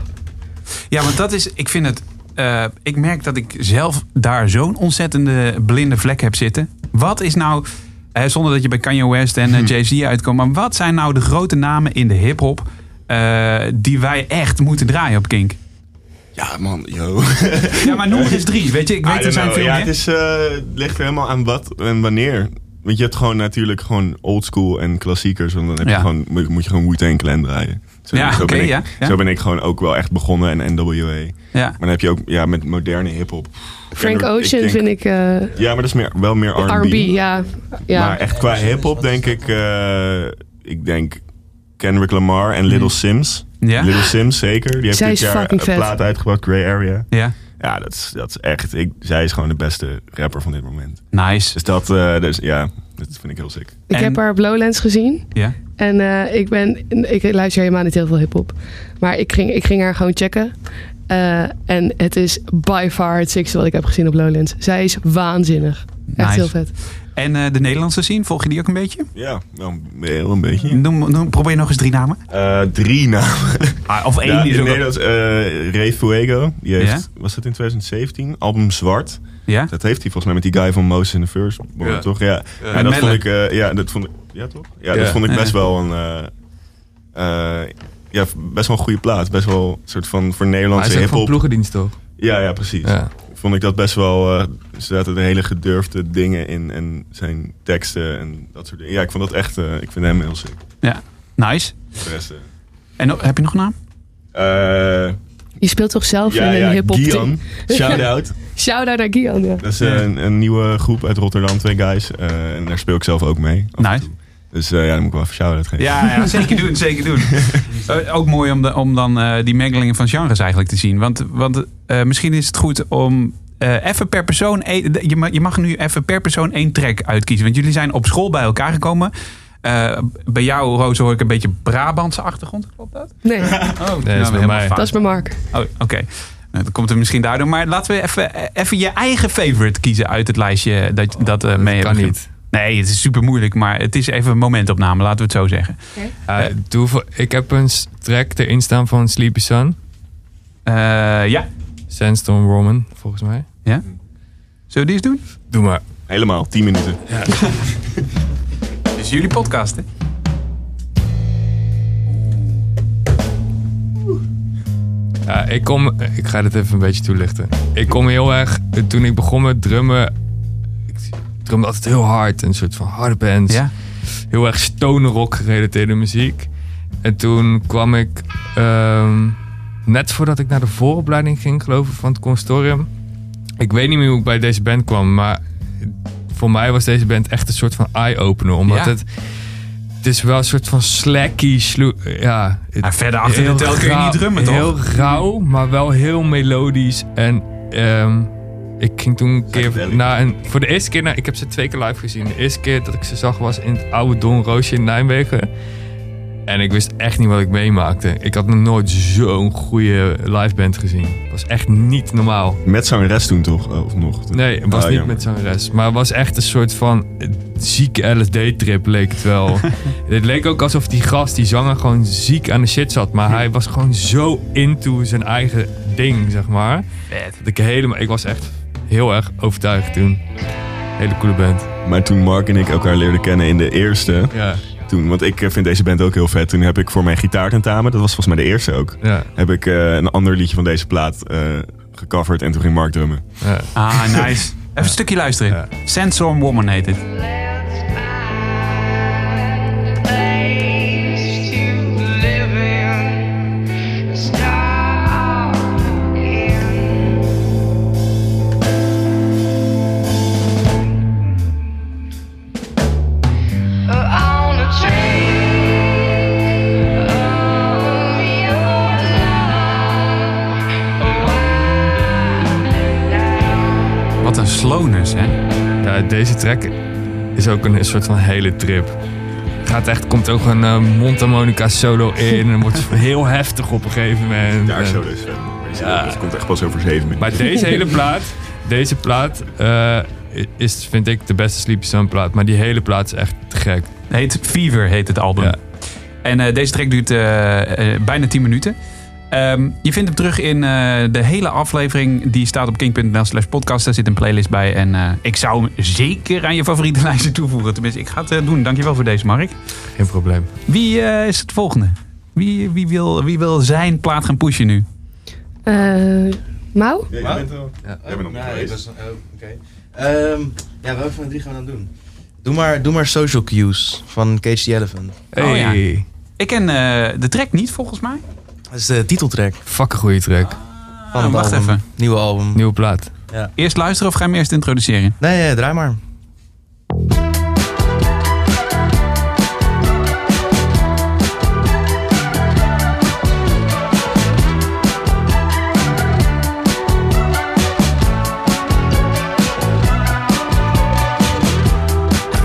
[SPEAKER 2] Ja, want dat is, ik vind het. eh, ik merk dat ik zelf daar zo'n ontzettende blinde vlek heb zitten. Wat is nou, eh, zonder dat je bij Kanye West en
[SPEAKER 6] Hmm.
[SPEAKER 2] eh, Jay-Z uitkomt, maar wat zijn nou de grote namen in de hip-hop eh, die wij echt moeten draaien op Kink?
[SPEAKER 6] Ja, man, [laughs] yo.
[SPEAKER 2] Ja, maar noem er eens drie. Weet je, ik
[SPEAKER 6] I
[SPEAKER 2] weet er
[SPEAKER 6] don't
[SPEAKER 2] zijn
[SPEAKER 6] know.
[SPEAKER 2] veel
[SPEAKER 6] ja,
[SPEAKER 2] meer.
[SPEAKER 6] het is, eh, het ligt er helemaal aan wat en wanneer. Want je hebt gewoon natuurlijk gewoon oldschool en klassiekers. Want dan heb je
[SPEAKER 2] Ja.
[SPEAKER 6] gewoon, moet- moet je gewoon Wu-Tang Clan draaien. Zo,
[SPEAKER 2] Ja,
[SPEAKER 6] zo
[SPEAKER 2] oké,
[SPEAKER 6] ben ik,
[SPEAKER 2] ja, ja.
[SPEAKER 6] Zo ben ik gewoon ook wel echt begonnen en NWA. Maar
[SPEAKER 2] Ja.
[SPEAKER 6] dan heb je ook ja, met moderne hiphop.
[SPEAKER 4] Frank
[SPEAKER 6] Ik denk-
[SPEAKER 4] Ocean
[SPEAKER 6] denk-
[SPEAKER 4] vind ik eh,
[SPEAKER 6] Ja, maar dat is meer, wel meer R&B.
[SPEAKER 4] R&B, ja. ja.
[SPEAKER 6] Maar echt qua hiphop denk ik... eh, ik denk Kendrick Lamar en Little Sims.
[SPEAKER 2] Ja.
[SPEAKER 6] Little Sims zeker. Die heeft
[SPEAKER 4] Hm. Zij
[SPEAKER 6] dit
[SPEAKER 4] is
[SPEAKER 6] jaar een
[SPEAKER 4] fucking vet.
[SPEAKER 6] plaat uitgebracht, Grey Area.
[SPEAKER 2] Ja,
[SPEAKER 6] Ja, dat is, dat is echt... Ik, zij is gewoon de beste rapper van dit moment.
[SPEAKER 2] nice.
[SPEAKER 6] Dus dat, eh, dus, ja, dat vind ik heel sick.
[SPEAKER 4] ik
[SPEAKER 2] en-
[SPEAKER 4] heb haar op Lowlands gezien.
[SPEAKER 2] Ja.
[SPEAKER 4] En eh, ik, ben, ik luister helemaal niet heel veel hip-hop. Maar ik ging, ik ging haar gewoon checken. Eh, en het is by far het sixte wat ik heb gezien op Lowlands. Zij is waanzinnig. Echt
[SPEAKER 2] Nice.
[SPEAKER 4] heel vet.
[SPEAKER 2] En eh, de Nederlandse scene, volg je die ook een beetje?
[SPEAKER 6] Ja, wel een- heel een beetje.
[SPEAKER 2] Noem, noem, probeer nog eens drie namen.
[SPEAKER 6] Eh, drie namen.
[SPEAKER 2] Ah, of één
[SPEAKER 6] Ja,
[SPEAKER 2] die
[SPEAKER 6] in
[SPEAKER 2] zo.
[SPEAKER 6] Nederland eh, Ray Fuego. Die heeft, was dat in 2017? Album Zwart.
[SPEAKER 2] Ja?
[SPEAKER 6] Dat heeft hij volgens mij met die guy van Moses in the First. Born,
[SPEAKER 5] Ja.
[SPEAKER 6] Toch? Ja.
[SPEAKER 5] Ja.
[SPEAKER 6] En dat
[SPEAKER 2] Melle.
[SPEAKER 6] vond ik, eh, ja, dat vond ik, ja toch? Ja, dat
[SPEAKER 5] Ja.
[SPEAKER 6] vond ik
[SPEAKER 2] Ja.
[SPEAKER 6] best wel een, eh, eh, ja, best wel een goede plaat. Best wel een soort van voor
[SPEAKER 5] Maar hij
[SPEAKER 6] Nederlandse
[SPEAKER 5] is ook van
[SPEAKER 6] hip-hop.
[SPEAKER 5] ploegendienst toch?
[SPEAKER 6] Ja, ja, precies.
[SPEAKER 5] Ja.
[SPEAKER 6] Vond ik dat best wel, eh er zaten de hele gedurfde dingen in en zijn teksten en dat soort dingen. Ja, ik vond dat echt, eh, ik vind hem heel sick.
[SPEAKER 2] Ja. Nice.
[SPEAKER 6] De rest, eh,
[SPEAKER 2] En oh, heb je nog een naam?
[SPEAKER 6] eh,
[SPEAKER 4] Je speelt toch zelf
[SPEAKER 6] ja,
[SPEAKER 4] in een
[SPEAKER 6] ja,
[SPEAKER 4] hip-hop team?
[SPEAKER 6] Gian. Shout out.
[SPEAKER 4] Shout-out naar Gian, ja.
[SPEAKER 6] Dat is eh, een, een nieuwe groep uit Rotterdam, twee guys. eh, en daar speel ik zelf ook mee. af en
[SPEAKER 2] Nice.
[SPEAKER 6] toe. Dus eh, ja, dan moet ik wel even shout-out geven.
[SPEAKER 2] Ja, ja, zeker doen, zeker doen. Eh, ook mooi om, de- om dan eh, die mengelingen van genres eigenlijk te zien. Want, want eh, misschien is het goed om eh, even per persoon... één- de- je, mag, je mag nu even per persoon één track uitkiezen. Want jullie zijn op school bij elkaar gekomen. Eh, bij jou, Roos, hoor ik een beetje Brabantse achtergrond. Klopt dat?
[SPEAKER 4] Nee,
[SPEAKER 2] Oh, dat
[SPEAKER 5] bij mij.
[SPEAKER 4] dat is bij Mark.
[SPEAKER 2] Oh, oké. Nou, dat komt er misschien daardoor. Maar laten we even, eh, even je eigen favorite kiezen uit het lijstje dat, dat eh, mee hebt
[SPEAKER 5] kan
[SPEAKER 2] gegeven.
[SPEAKER 5] niet.
[SPEAKER 2] Nee, het is super moeilijk, maar het is even een momentopname, laten we het zo zeggen.
[SPEAKER 5] Eh, doe voor, ik heb een s- track erin staan van Sleepy Sun.
[SPEAKER 2] Eh, ja,
[SPEAKER 5] Sandstorm Roman, volgens mij.
[SPEAKER 2] Ja? Zullen we die eens doen?
[SPEAKER 5] Doe maar.
[SPEAKER 6] Helemaal, 10 minuten.
[SPEAKER 2] Dit is jullie podcast, hè?
[SPEAKER 5] Ja, ik, kom, ik ga dit even een beetje toelichten. Ik kom heel erg, toen ik begon met drummen, ik drumde altijd heel hard. Een soort van harde bands.
[SPEAKER 2] Ja.
[SPEAKER 5] Heel erg stone rock gerelateerde muziek. En toen kwam ik, ehm, net voordat ik naar de vooropleiding ging geloof ik van het consortium. Ik weet niet meer hoe ik bij deze band kwam, maar voor mij was deze band echt een soort van eye-opener. Omdat
[SPEAKER 2] Ja.
[SPEAKER 5] het, het is wel een soort van slacky, sloe, ja. het-
[SPEAKER 2] En Nou, verder achter de
[SPEAKER 5] Heel
[SPEAKER 2] tel kun je
[SPEAKER 5] rauw-
[SPEAKER 2] niet drummen, toch?
[SPEAKER 5] Heel rauw, maar wel heel melodisch. En ehm, ik ging toen een keer
[SPEAKER 6] Psychedelic.
[SPEAKER 5] naar een... Voor de eerste keer, naar, ik heb ze twee keer live gezien. De eerste keer dat ik ze zag was in het oude Don Roosje in Nijmegen. En ik wist echt niet wat ik meemaakte. Ik had nog nooit zo'n goede liveband gezien. Het was echt niet normaal.
[SPEAKER 6] Met zangeres toen toch? Oh, Of nog?
[SPEAKER 5] Nee, het was
[SPEAKER 6] Ah,
[SPEAKER 5] niet
[SPEAKER 6] jammer.
[SPEAKER 5] met zangeres. Maar het was echt een soort van eh, zieke LSD-trip, leek het
[SPEAKER 6] [laughs]
[SPEAKER 5] wel. het leek ook alsof die gast, die zanger, gewoon ziek aan de shit zat. Maar hij was gewoon zo into zijn eigen ding, zeg maar. Dat ik helemaal... Ik was echt heel erg overtuigd toen. Hele coole band.
[SPEAKER 6] Maar toen Mark en ik elkaar leerden kennen in de eerste,
[SPEAKER 5] Ja,
[SPEAKER 6] toen, want ik eh, vind deze band ook heel vet, toen heb ik voor mijn gitaartentamen, dat was volgens mij de eerste ook,
[SPEAKER 5] ja,
[SPEAKER 6] heb ik eh, een ander liedje van deze plaat eh, gecoverd en toen ging Mark drummen.
[SPEAKER 5] ja.
[SPEAKER 2] Ah, [laughs] nice. Even een stukje luisteren.
[SPEAKER 5] Ja.
[SPEAKER 2] Sandstorm Woman heet het. Wat een slowness, hè?
[SPEAKER 5] Ja, deze track is ook een soort van hele trip. Het Gaat echt, komt ook een eh, mondharmonica solo in en
[SPEAKER 6] [laughs]
[SPEAKER 5] wordt heel heftig op een gegeven moment.
[SPEAKER 6] Daar
[SPEAKER 5] En-
[SPEAKER 6] zo dus. eh,
[SPEAKER 5] Ja.
[SPEAKER 6] Dat komt echt pas over zeven minuten.
[SPEAKER 5] Maar deze hele plaat, deze plaat eh, is, vind ik, de beste Sleepy Sun plaat. Maar die hele plaat is echt te gek.
[SPEAKER 2] Heet Fever, heet het album.
[SPEAKER 5] Ja.
[SPEAKER 2] En eh, deze track duurt eh, eh, bijna 10 minuten. Ehm, je vindt hem terug in eh, de hele aflevering. Die staat op king.nl slash podcast. Daar zit een playlist bij. En eh, ik zou hem zeker aan je favoriete [laughs] lijsten toevoegen. Tenminste, ik ga het eh, doen. Dankjewel voor deze, Mark.
[SPEAKER 5] Geen probleem.
[SPEAKER 2] Wie eh, is het volgende? Wie, wie, wil, wie wil zijn plaat gaan pushen nu?
[SPEAKER 4] Eh Mau?
[SPEAKER 6] Ja, jij
[SPEAKER 7] Wat?
[SPEAKER 6] bent er al.
[SPEAKER 5] Ja.
[SPEAKER 6] Jij bent nog niet
[SPEAKER 7] Nee,
[SPEAKER 6] geweest.
[SPEAKER 7] dat is- oh, oké. Ehm, ja, welke van de drie gaan we dan doen? Doe maar, doe maar Social Cues van Cage the Elephant.
[SPEAKER 2] Oh, ja.
[SPEAKER 5] Hey,
[SPEAKER 2] Ik ken eh, de track niet, volgens mij.
[SPEAKER 7] Dat is de titeltrack
[SPEAKER 5] fuck een goede track.
[SPEAKER 7] van het
[SPEAKER 2] wacht
[SPEAKER 7] album.
[SPEAKER 2] even.
[SPEAKER 7] Nieuwe album.
[SPEAKER 5] Nieuwe plaat.
[SPEAKER 2] Eerst luisteren of ga je hem eerst introduceren?
[SPEAKER 7] Nee, nee, draai maar.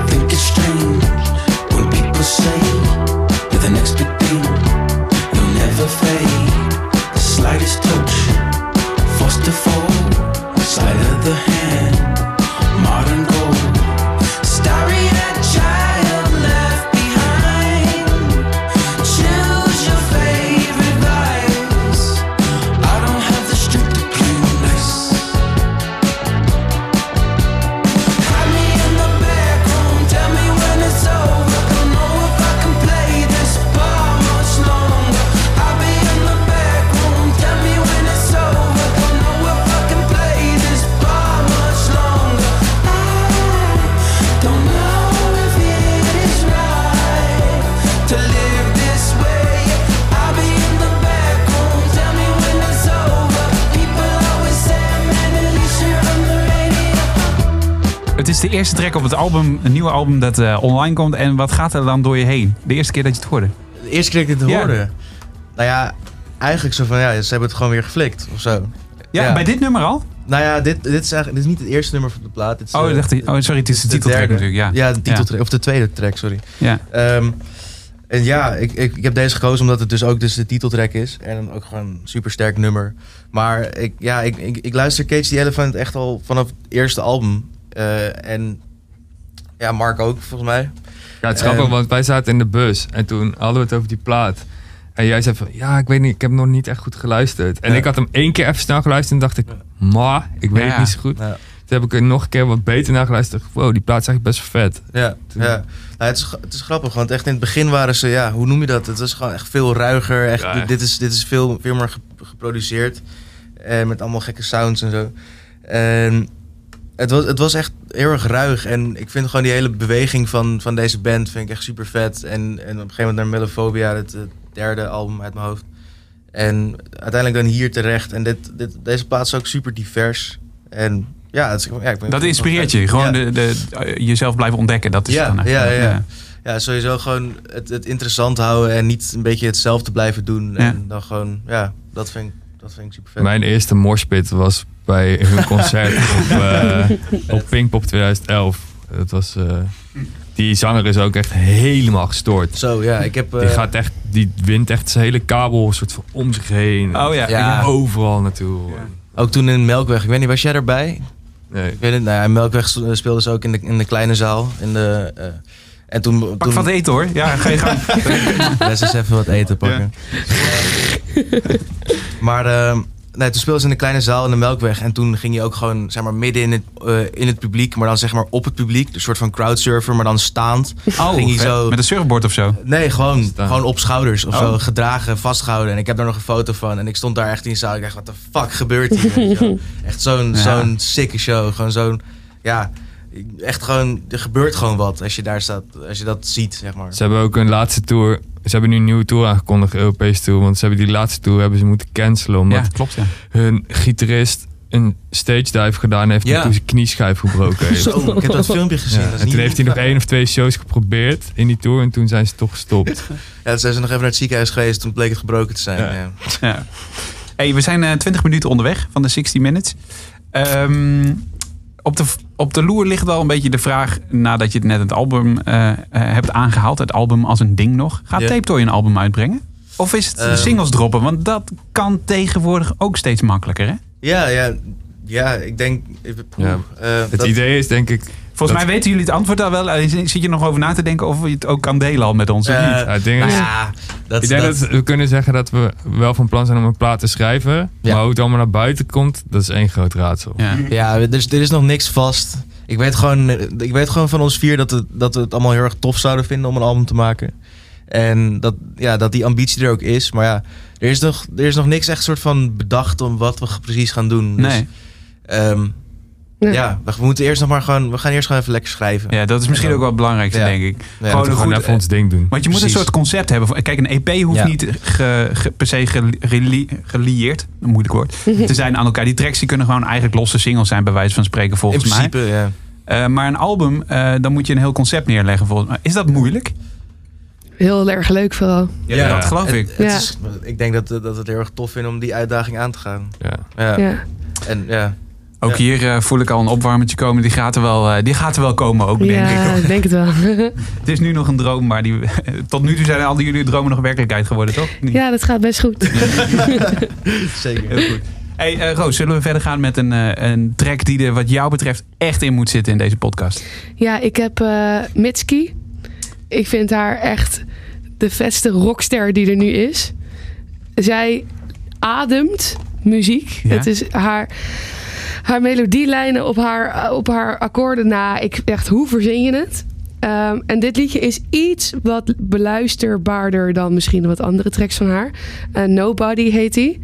[SPEAKER 8] think it's strange when people say you're the next big thing. You'll never fade. The slightest touch, forced to fall. Sleight of the hand, modern gold. Starry-eyed child left behind. Choose your favorite vice. I don't have the strength to play nice. Hide me in the back room, tell me when it's over. Don't know if I can play this bar much longer. I'll be in the back room, tell me when it's over. Don't know if I can play this bar much longer. Don't know if it is right to live this way. I'll be in the back room, tell me when it's over. People always say, man, at least you're on the radio.
[SPEAKER 2] Het is de eerste track op het album, een nieuwe album dat eh, online komt. En wat gaat er dan door je heen? De eerste keer dat je het hoorde.
[SPEAKER 7] De eerste keer dat ik dit
[SPEAKER 2] Ja.
[SPEAKER 7] hoorde. Nou ja, eigenlijk zo van, ja, ze hebben het gewoon weer geflikt of zo.
[SPEAKER 2] Ja,
[SPEAKER 7] Ja.
[SPEAKER 2] bij dit nummer al?
[SPEAKER 7] Nou ja, dit, dit, is, eigenlijk, dit is niet het eerste nummer van de plaat. Dit is,
[SPEAKER 2] Oh,
[SPEAKER 7] eh,
[SPEAKER 2] dacht ik, oh sorry, het is de, titeltrack
[SPEAKER 7] derde.
[SPEAKER 2] natuurlijk. Ja.
[SPEAKER 7] Ja, de titeltrack, of de tweede track, sorry.
[SPEAKER 2] Ja.
[SPEAKER 7] Ehm, en ja, ik, ik, ik heb deze gekozen omdat het dus ook dus de titeltrack is. En dan ook gewoon een supersterk nummer. Maar ik, ja, ik, ik, ik luister Cage the Elephant echt al vanaf het eerste album. Eh, en ja, Mark ook, volgens mij.
[SPEAKER 5] Ja, het is grappig,
[SPEAKER 7] Ehm.
[SPEAKER 5] want wij zaten in de bus en toen hadden we het over die plaat. En jij zei van, ja, ik weet niet, ik heb nog niet echt goed geluisterd. En
[SPEAKER 7] Ja.
[SPEAKER 5] ik had hem één keer even snel geluisterd en dacht ik, maar, ik weet
[SPEAKER 2] Ja.
[SPEAKER 5] het niet zo goed.
[SPEAKER 7] Ja.
[SPEAKER 5] Toen heb ik er nog een keer wat beter naar geluisterd. Wow, die plaat is eigenlijk best wel vet.
[SPEAKER 7] Ja,
[SPEAKER 5] Toen-
[SPEAKER 7] ja. Nou, het, is, gra- het is grappig, want echt in het begin waren ze, ja, hoe noem je dat? Het was gewoon echt veel ruiger. Echt,
[SPEAKER 5] Ja,
[SPEAKER 7] dit-
[SPEAKER 5] echt.
[SPEAKER 7] Dit is, dit is veel, veel meer gep- geproduceerd. Eh, met allemaal gekke sounds en zo. En het, was, het was echt heel erg ruig. En ik vind gewoon die hele beweging van, van deze band vind ik echt super vet. En, en op een gegeven moment naar Mellophobia, het, eh, derde album uit mijn hoofd. En uiteindelijk dan hier terecht. En dit, dit, deze plaats is ook super divers. En ja, het is, ja ik ben-
[SPEAKER 2] Dat inspireert je. Gewoon
[SPEAKER 7] Ja.
[SPEAKER 2] de, de, eh, jezelf blijven ontdekken. Dat is
[SPEAKER 7] Ja,
[SPEAKER 2] het dan echt.
[SPEAKER 7] ja, ja. Ja, sowieso gewoon het, het interessant houden en niet een beetje hetzelfde blijven doen. En dan gewoon, ja, dat vind ik, dat vind ik super vet.
[SPEAKER 5] Mijn eerste morspit was bij hun concert op, eh op Pinkpop 2011. Dat was, eh, die zanger is ook echt helemaal gestoord.
[SPEAKER 7] Zo, ja, ik heb...
[SPEAKER 5] Die,
[SPEAKER 7] eh,
[SPEAKER 5] gaat echt, die wint echt zijn hele kabel soort van om zich heen.
[SPEAKER 2] Oh ja.
[SPEAKER 7] Ja.
[SPEAKER 5] Overal naartoe.
[SPEAKER 7] Ook toen in Melkweg, ik weet niet, was jij erbij?
[SPEAKER 5] Nee.
[SPEAKER 7] Ik weet het, nou ja, in Melkweg s- speelden ze ook in de, in de kleine zaal. In de, eh, en toen...
[SPEAKER 2] Pak
[SPEAKER 7] toen
[SPEAKER 2] wat eten hoor. Ja, ga je
[SPEAKER 7] [laughs]
[SPEAKER 2] gang.
[SPEAKER 7] Let's eens even wat eten pakken. maar ehm, nee, toen speelden ze in de kleine zaal in de Melkweg. En toen ging je ook gewoon zeg maar, midden in het, eh, in het publiek, maar dan zeg maar op het publiek. Dus een soort van crowdsurfer, maar dan staand.
[SPEAKER 2] Oh,
[SPEAKER 7] ging je zo...
[SPEAKER 2] met een surfboard of zo.
[SPEAKER 7] Nee, gewoon,
[SPEAKER 5] Staan.
[SPEAKER 7] gewoon op schouders of
[SPEAKER 2] Oh.
[SPEAKER 7] zo. Gedragen, vastgehouden. En ik heb daar nog een foto van. En ik stond daar echt in de zaal. Ik dacht, wat de fuck gebeurt hier?
[SPEAKER 2] [laughs]
[SPEAKER 7] weet je wel? echt zo'n
[SPEAKER 2] Ja.
[SPEAKER 7] zo'n sicke show. Gewoon zo'n, ja... Echt gewoon, er gebeurt gewoon wat als je daar staat. Als je dat ziet, zeg maar.
[SPEAKER 5] Ze hebben ook hun laatste tour. Ze hebben nu een nieuwe tour aangekondigd, een Europese tour. Want ze hebben die laatste tour hebben ze moeten cancelen. Omdat
[SPEAKER 2] Ja, klopt. Ja.
[SPEAKER 5] hun gitarist een stage dive gedaan heeft.
[SPEAKER 7] Ja.
[SPEAKER 5] En toen zijn knieschijf gebroken heeft.
[SPEAKER 7] Zo, Oh, ik heb [laughs] dat filmpje gezien.
[SPEAKER 5] Ja,
[SPEAKER 7] dat is
[SPEAKER 5] en
[SPEAKER 7] niet
[SPEAKER 5] toen heeft hij nog
[SPEAKER 7] normaal.
[SPEAKER 5] één of twee shows geprobeerd in die tour en toen zijn ze toch gestopt.
[SPEAKER 7] Ja, toen zijn ze nog even naar het ziekenhuis geweest. Toen bleek het gebroken te zijn.
[SPEAKER 5] Ja.
[SPEAKER 7] ja.
[SPEAKER 2] Ja. Hey, we zijn eh 20 minuten onderweg van de 60 Minutes. Ehm, op, de, op de loer ligt al een beetje de vraag, nadat je net het album eh, eh, hebt aangehaald, het album als een ding nog. Gaat
[SPEAKER 7] Ja.
[SPEAKER 2] Tape Toy een album uitbrengen? Of is het
[SPEAKER 7] Ehm.
[SPEAKER 2] singles droppen? Want dat kan tegenwoordig ook steeds makkelijker, hè?
[SPEAKER 7] Ja, ja, ja, ik denk...
[SPEAKER 5] Ja.
[SPEAKER 7] eh,
[SPEAKER 5] Het
[SPEAKER 7] dat-
[SPEAKER 5] idee is denk ik
[SPEAKER 2] Volgens mij weten jullie het antwoord al wel. Alleen Zit je nog over na te denken of je het ook kan delen al met ons? of
[SPEAKER 7] Eh,
[SPEAKER 2] niet?
[SPEAKER 5] Ja, het ding
[SPEAKER 7] nou
[SPEAKER 5] is-
[SPEAKER 7] ja, dat,
[SPEAKER 5] Ik denk dat we kunnen zeggen dat we wel van plan zijn om een plaat te schrijven.
[SPEAKER 7] Ja.
[SPEAKER 5] Maar hoe het allemaal naar buiten komt, dat is één groot raadsel.
[SPEAKER 2] Ja.
[SPEAKER 7] Ja, er is, er is nog niks vast. Ik weet gewoon, ik weet gewoon van ons vier dat we, dat we het allemaal heel erg tof zouden vinden om een album te maken. En dat, ja, dat die ambitie er ook is. Maar ja, er is nog, er is nog niks echt soort van bedacht om wat we precies gaan doen. Dus,
[SPEAKER 2] Nee.
[SPEAKER 7] ehm,
[SPEAKER 4] Ja.
[SPEAKER 7] ja, we moeten eerst nog maar gewoon, we gaan eerst gewoon even lekker schrijven.
[SPEAKER 2] Ja, dat is misschien ook wel het belangrijkste,
[SPEAKER 7] Ja.
[SPEAKER 2] denk ik.
[SPEAKER 7] Ja,
[SPEAKER 2] Gewoon
[SPEAKER 5] We
[SPEAKER 2] een
[SPEAKER 5] gaan
[SPEAKER 2] goed... eh,
[SPEAKER 5] even ons ding doen.
[SPEAKER 2] Want je moet een
[SPEAKER 7] Precies.
[SPEAKER 2] soort concept hebben. van- Kijk, een EP hoeft
[SPEAKER 7] Ja.
[SPEAKER 2] niet ge- ge- per se geli- geli- gelieerd, een moeilijk woord, te zijn aan elkaar. Die tracks die kunnen gewoon eigenlijk losse singles zijn, bij wijze van spreken,
[SPEAKER 7] In
[SPEAKER 2] volgens mij.
[SPEAKER 7] principe, ja.
[SPEAKER 2] Eh, maar een album, eh, dan moet je een heel concept neerleggen, volgens mij. Is dat moeilijk?
[SPEAKER 4] Heel erg leuk vooral.
[SPEAKER 2] Ja,
[SPEAKER 7] Ja.
[SPEAKER 2] dat geloof ik.
[SPEAKER 7] Het, het
[SPEAKER 4] Ja.
[SPEAKER 7] is, ik denk dat, dat we het heel erg tof vinden om die uitdaging aan te gaan.
[SPEAKER 5] Ja.
[SPEAKER 7] Ja.
[SPEAKER 4] Ja.
[SPEAKER 7] En ja. [laughs]
[SPEAKER 2] Ook
[SPEAKER 7] Ja.
[SPEAKER 2] hier eh, voel ik al een opwarmetje komen. Die gaat er wel, eh, die gaat er wel komen ook, denk ik.
[SPEAKER 4] Ja, ik denk het wel.
[SPEAKER 2] Het is nu nog een droom, maar die, [laughs] tot nu toe zijn al die jullie dromen nog werkelijkheid geworden, toch? Niet?
[SPEAKER 4] Ja, dat gaat best goed.
[SPEAKER 7] Zeker.
[SPEAKER 2] Heel goed. Hey, eh, Roos, zullen we verder gaan met een, eh, een track die er wat jou betreft echt in moet zitten in deze podcast?
[SPEAKER 4] Ja, ik heb eh Mitski. Ik vind haar echt de vetste rockster die er nu is. Zij ademt muziek.
[SPEAKER 2] Ja.
[SPEAKER 4] Het is haar, haar melodielijnen op haar, op haar akkoorden na. Ik, echt, hoe verzin je het? Ehm, en dit liedje is iets wat beluisterbaarder dan misschien wat andere tracks van haar. Eh, Nobody heet die.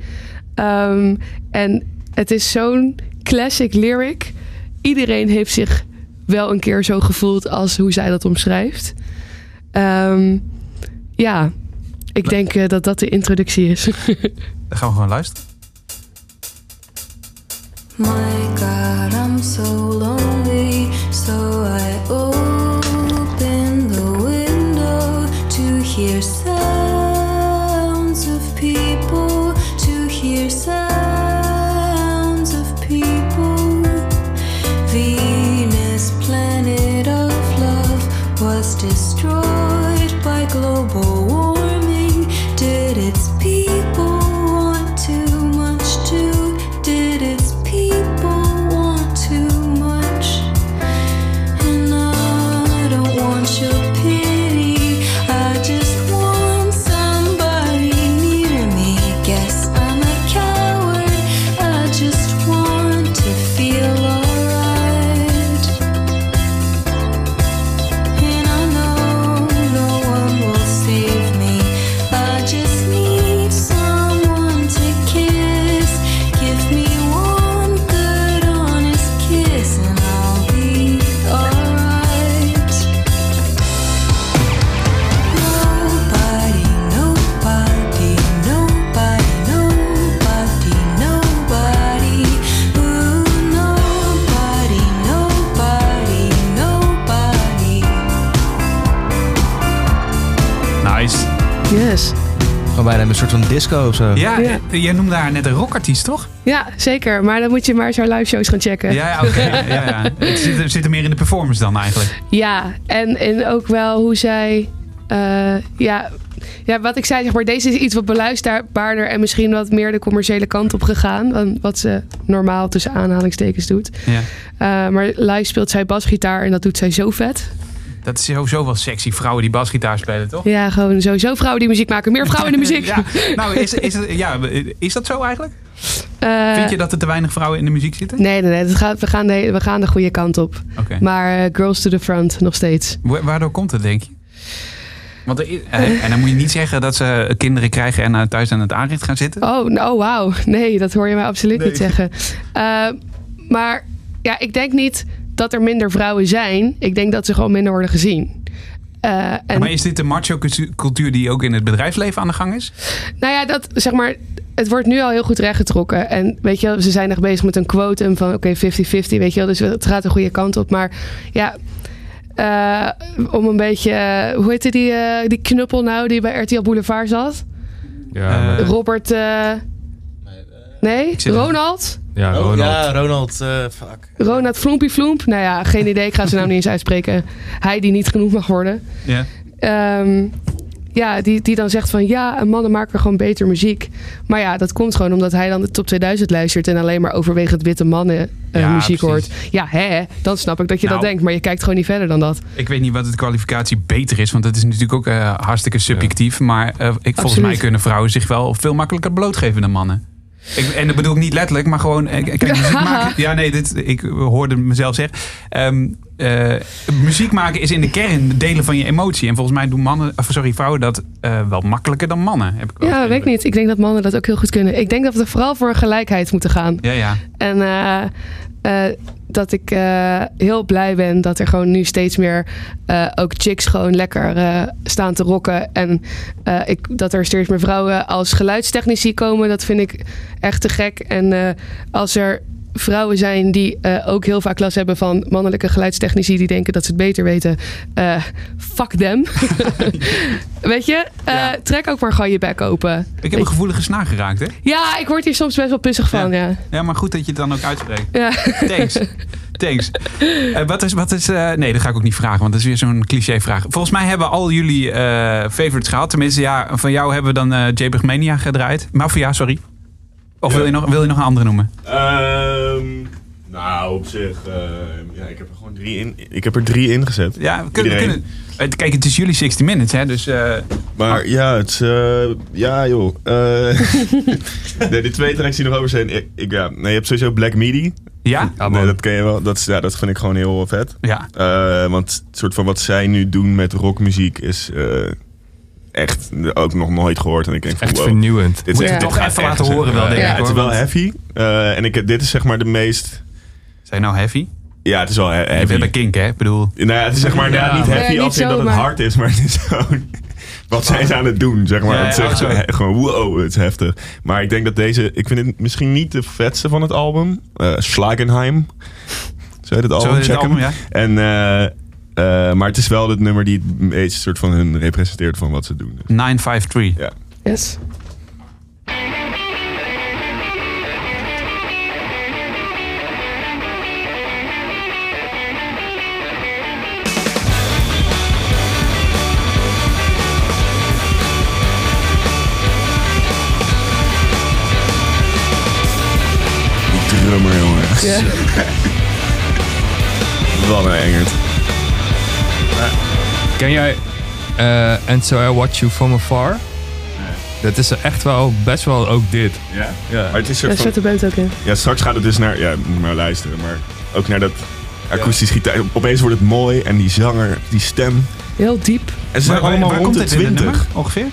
[SPEAKER 4] Ehm, en het is zo'n classic lyric. Iedereen heeft zich wel een keer zo gevoeld als hoe zij dat omschrijft. Ehm, ja, ik denk eh, dat dat de introductie is. [laughs]
[SPEAKER 2] Dan gaan we gewoon luisteren.
[SPEAKER 9] My God, I'm so lonely. So I open the window to hear sounds of people, to hear sounds of people. Venus, planet of love, was destroyed by global warming. Did its people want too much too? Did its people want too much? And I don't want your pity. I just want somebody near me. Guess I'm a coward. I just want to feel alright. And I know no one will save me. I just need someone to kiss. Give me one good honest kiss and I'll be alright. Nobody, nobody, nobody, nobody, nobody. Ooh, nobody, nobody, nobody.
[SPEAKER 2] Nice.
[SPEAKER 4] Yes.
[SPEAKER 7] Gewoon bijna een soort van disco of zo.
[SPEAKER 2] Ja,
[SPEAKER 4] Ja.
[SPEAKER 2] eh, jij noemde haar net een rockartiest, toch?
[SPEAKER 4] Ja, zeker. Maar dan moet je maar eens haar live shows gaan checken.
[SPEAKER 2] Ja, ja oké.
[SPEAKER 4] [laughs]
[SPEAKER 2] ja, ja. Het zit, er- zit er meer in de performance dan eigenlijk.
[SPEAKER 4] Ja, en, en ook wel hoe zij. eh, ja, ja, wat ik zei, zeg maar, deze is iets wat beluisterbaarder en misschien wat meer de commerciële kant op gegaan. Dan wat ze normaal tussen aanhalingstekens doet.
[SPEAKER 2] Ja.
[SPEAKER 4] Eh, maar live speelt zij basgitaar en dat doet zij zo vet.
[SPEAKER 2] Dat is sowieso wel sexy, vrouwen die basgitaar spelen, toch?
[SPEAKER 4] Ja, gewoon sowieso vrouwen die muziek maken. Meer vrouwen in de muziek.
[SPEAKER 2] [laughs] Ja, nou, is, is, het- ja, is dat zo eigenlijk?
[SPEAKER 4] Eh,
[SPEAKER 2] Vind je dat er te weinig vrouwen in de muziek zitten?
[SPEAKER 4] Nee, nee, nee. Dat gaat, we, gaan de, we gaan de goede kant op.
[SPEAKER 2] Oké.
[SPEAKER 4] Maar eh, girls to the front nog steeds.
[SPEAKER 2] Wa- Waardoor komt het, denk je? Want er i- eh, en dan moet je niet zeggen dat ze kinderen krijgen en eh, thuis aan het aanrecht gaan zitten.
[SPEAKER 4] Oh, nou, wauw. Nee, dat hoor je mij absoluut niet zeggen. Eh, maar ja, ik denk niet dat er minder vrouwen zijn. Ik denk dat ze gewoon minder worden gezien. Eh, en,
[SPEAKER 2] Maar is dit de macho-cultuur die ook in het bedrijfsleven aan de gang is?
[SPEAKER 4] Nou ja, dat zeg maar. Het wordt nu al heel goed rechtgetrokken. En weet je, wel, ze zijn echt bezig met een quotum van oké, 50-50. Weet je wel, dus het gaat de goede kant op. Maar ja, eh, om een beetje. eh, hoe heette die, eh, die knuppel nou die bij RTL Boulevard zat?
[SPEAKER 5] Ja,
[SPEAKER 2] Eh,
[SPEAKER 5] maar-
[SPEAKER 4] Robert. eh, nee,
[SPEAKER 2] zit-
[SPEAKER 4] Ronald?
[SPEAKER 5] ja,
[SPEAKER 7] Oh,
[SPEAKER 5] Ronald.
[SPEAKER 7] ja, Ronald, eh, fuck.
[SPEAKER 4] Ronald Floempie Floemp. Nou ja, geen idee. Ik ga zijn naam niet eens uitspreken. Hij die niet genoemd mag worden.
[SPEAKER 2] Ja.
[SPEAKER 4] Ehm, Ja, die, die dan zegt van ja, en mannen maken gewoon beter muziek. Maar ja, dat komt gewoon omdat hij dan de top 2000 luistert en alleen maar overwegend witte mannen eh,
[SPEAKER 2] Ja,
[SPEAKER 4] muziek
[SPEAKER 2] precies.
[SPEAKER 4] hoort. Ja, hè, dan snap ik dat je
[SPEAKER 2] Nou.
[SPEAKER 4] dat denkt, maar je kijkt gewoon niet verder dan dat.
[SPEAKER 2] Ik weet niet wat de kwalificatie beter is, want dat is natuurlijk ook eh, hartstikke subjectief. Maar eh, ik, volgens
[SPEAKER 4] Absoluut.
[SPEAKER 2] mij kunnen vrouwen zich wel veel makkelijker blootgeven dan mannen. Ik, en dat bedoel ik niet letterlijk, maar gewoon. eh, Kijk, muziek
[SPEAKER 4] [laughs]
[SPEAKER 2] maken. Ja, nee, dit, ik hoorde mezelf zeggen. Ehm, eh, muziek maken is in de kern delen van je emotie. En volgens mij doen mannen, of sorry, vrouwen dat eh, wel makkelijker dan mannen. Heb ik wel
[SPEAKER 4] Ja,
[SPEAKER 2] de
[SPEAKER 4] weet ik
[SPEAKER 2] indruk.
[SPEAKER 4] niet. Ik denk dat mannen dat ook heel goed kunnen. Ik denk dat we vooral voor gelijkheid moeten gaan.
[SPEAKER 2] Ja, ja.
[SPEAKER 4] En eh, eh, dat ik eh, heel blij ben dat er gewoon nu steeds meer eh, ook chicks gewoon lekker eh, staan te rocken. En eh, ik, dat er steeds meer vrouwen als geluidstechnici komen, dat vind ik echt te gek. En eh, als er vrouwen zijn die eh, ook heel vaak last hebben van mannelijke geluidstechnici die denken dat ze het beter weten. eh, fuck [laughs] them. Weet je, Eh,
[SPEAKER 2] Ja.
[SPEAKER 4] trek ook maar gewoon je bek open.
[SPEAKER 2] Ik heb een gevoelige snaar geraakt, hè?
[SPEAKER 4] Ja, ik word hier soms best wel pissig van. Ja.
[SPEAKER 2] Ja, maar goed dat je het dan ook uitspreekt.
[SPEAKER 4] Ja.
[SPEAKER 2] Thanks. Thanks. Eh, wat is. Wat is eh, nee, dat ga ik ook niet vragen, want dat is weer zo'n cliché-vraag. Volgens mij hebben al jullie eh, favorites gehad. Tenminste, ja, van jou hebben we dan eh JPEG Mania gedraaid. Maar voor jou, sorry. Of wil, je nog, wil je nog een andere noemen?
[SPEAKER 6] Ehm, nou, op zich. eh, ja, ik heb er gewoon drie in. Ik heb er drie in gezet.
[SPEAKER 2] Ja, we kunnen, we
[SPEAKER 6] Iedereen.
[SPEAKER 2] kunnen. eh, Kijk, het is jullie 60 Minutes, hè? Dus. eh,
[SPEAKER 6] Maar ja, het is, eh, ja
[SPEAKER 2] [laughs]
[SPEAKER 6] joh. Eh, nee, die twee tracks die nog over zijn. Ik, ik- ja, nee, je hebt sowieso Black Midi.
[SPEAKER 2] ja?
[SPEAKER 5] Ja,
[SPEAKER 6] nee,
[SPEAKER 5] man.
[SPEAKER 6] dat ken je wel. Dat, is, ja, dat vind ik gewoon heel vet.
[SPEAKER 2] Ah, Ja.
[SPEAKER 6] Eh, want het soort van wat zij nu doen met rockmuziek is eh, echt ook nog nooit gehoord. En ik denk van,
[SPEAKER 5] Echt
[SPEAKER 6] wow,
[SPEAKER 5] vernieuwend.
[SPEAKER 6] dit is
[SPEAKER 4] Moet je
[SPEAKER 6] echt, dit
[SPEAKER 2] toch
[SPEAKER 6] gaat
[SPEAKER 2] even
[SPEAKER 6] echt
[SPEAKER 2] laten
[SPEAKER 6] zo.
[SPEAKER 2] horen wel, denk
[SPEAKER 4] ik,
[SPEAKER 6] Ja, Het is
[SPEAKER 2] hoor,
[SPEAKER 6] wel
[SPEAKER 2] want-
[SPEAKER 6] heavy. Eh, en ik, dit is zeg maar de meest...
[SPEAKER 2] Zijn nou heavy?
[SPEAKER 6] Ja, het is wel he-
[SPEAKER 2] We
[SPEAKER 6] heavy.
[SPEAKER 2] hebben Kink, hè? Ik bedoel.
[SPEAKER 6] Nou ja, het is zeg maar
[SPEAKER 5] Ja.
[SPEAKER 6] ja, niet heavy
[SPEAKER 4] Nee, niet
[SPEAKER 6] als in dat het
[SPEAKER 4] zomaar.
[SPEAKER 6] hard is, maar het is gewoon... [laughs] Wat zijn ze aan het doen, zeg maar.
[SPEAKER 2] Ja,
[SPEAKER 6] het is
[SPEAKER 2] ja,
[SPEAKER 6] echt
[SPEAKER 2] ja.
[SPEAKER 6] eh, gewoon, wow, het is heftig. Maar ik denk dat deze... Ik vind het misschien niet de vetste van het album. Eh Schlagenheim. Zou je dat
[SPEAKER 2] Zo
[SPEAKER 6] album
[SPEAKER 2] heet het
[SPEAKER 6] checken?
[SPEAKER 2] album, ja.
[SPEAKER 6] En, eh, eh, maar het is wel het nummer die het meest soort van hun representeert van wat ze doen.
[SPEAKER 2] 953.
[SPEAKER 6] Ja.
[SPEAKER 4] Yes.
[SPEAKER 6] Die drummer, jongen.
[SPEAKER 4] Ja.
[SPEAKER 6] Wat een engert.
[SPEAKER 5] Ken jij eh, And So I Watch You From Afar? Dat is echt wel best wel ook dit.
[SPEAKER 6] Ja. Maar het is
[SPEAKER 4] Daar
[SPEAKER 6] soort van...
[SPEAKER 4] zet de band ook in.
[SPEAKER 6] Ja, straks gaat het dus naar... Ja, moet maar luisteren. Maar ook naar dat akoestisch gitaar. Opeens wordt het mooi en die zanger, die stem.
[SPEAKER 4] Heel diep.
[SPEAKER 6] En ze zijn
[SPEAKER 2] Waar- waar-
[SPEAKER 6] allemaal
[SPEAKER 2] waar
[SPEAKER 6] rond
[SPEAKER 2] komt
[SPEAKER 6] de
[SPEAKER 2] dit in het
[SPEAKER 6] 20.
[SPEAKER 2] nummer, ongeveer?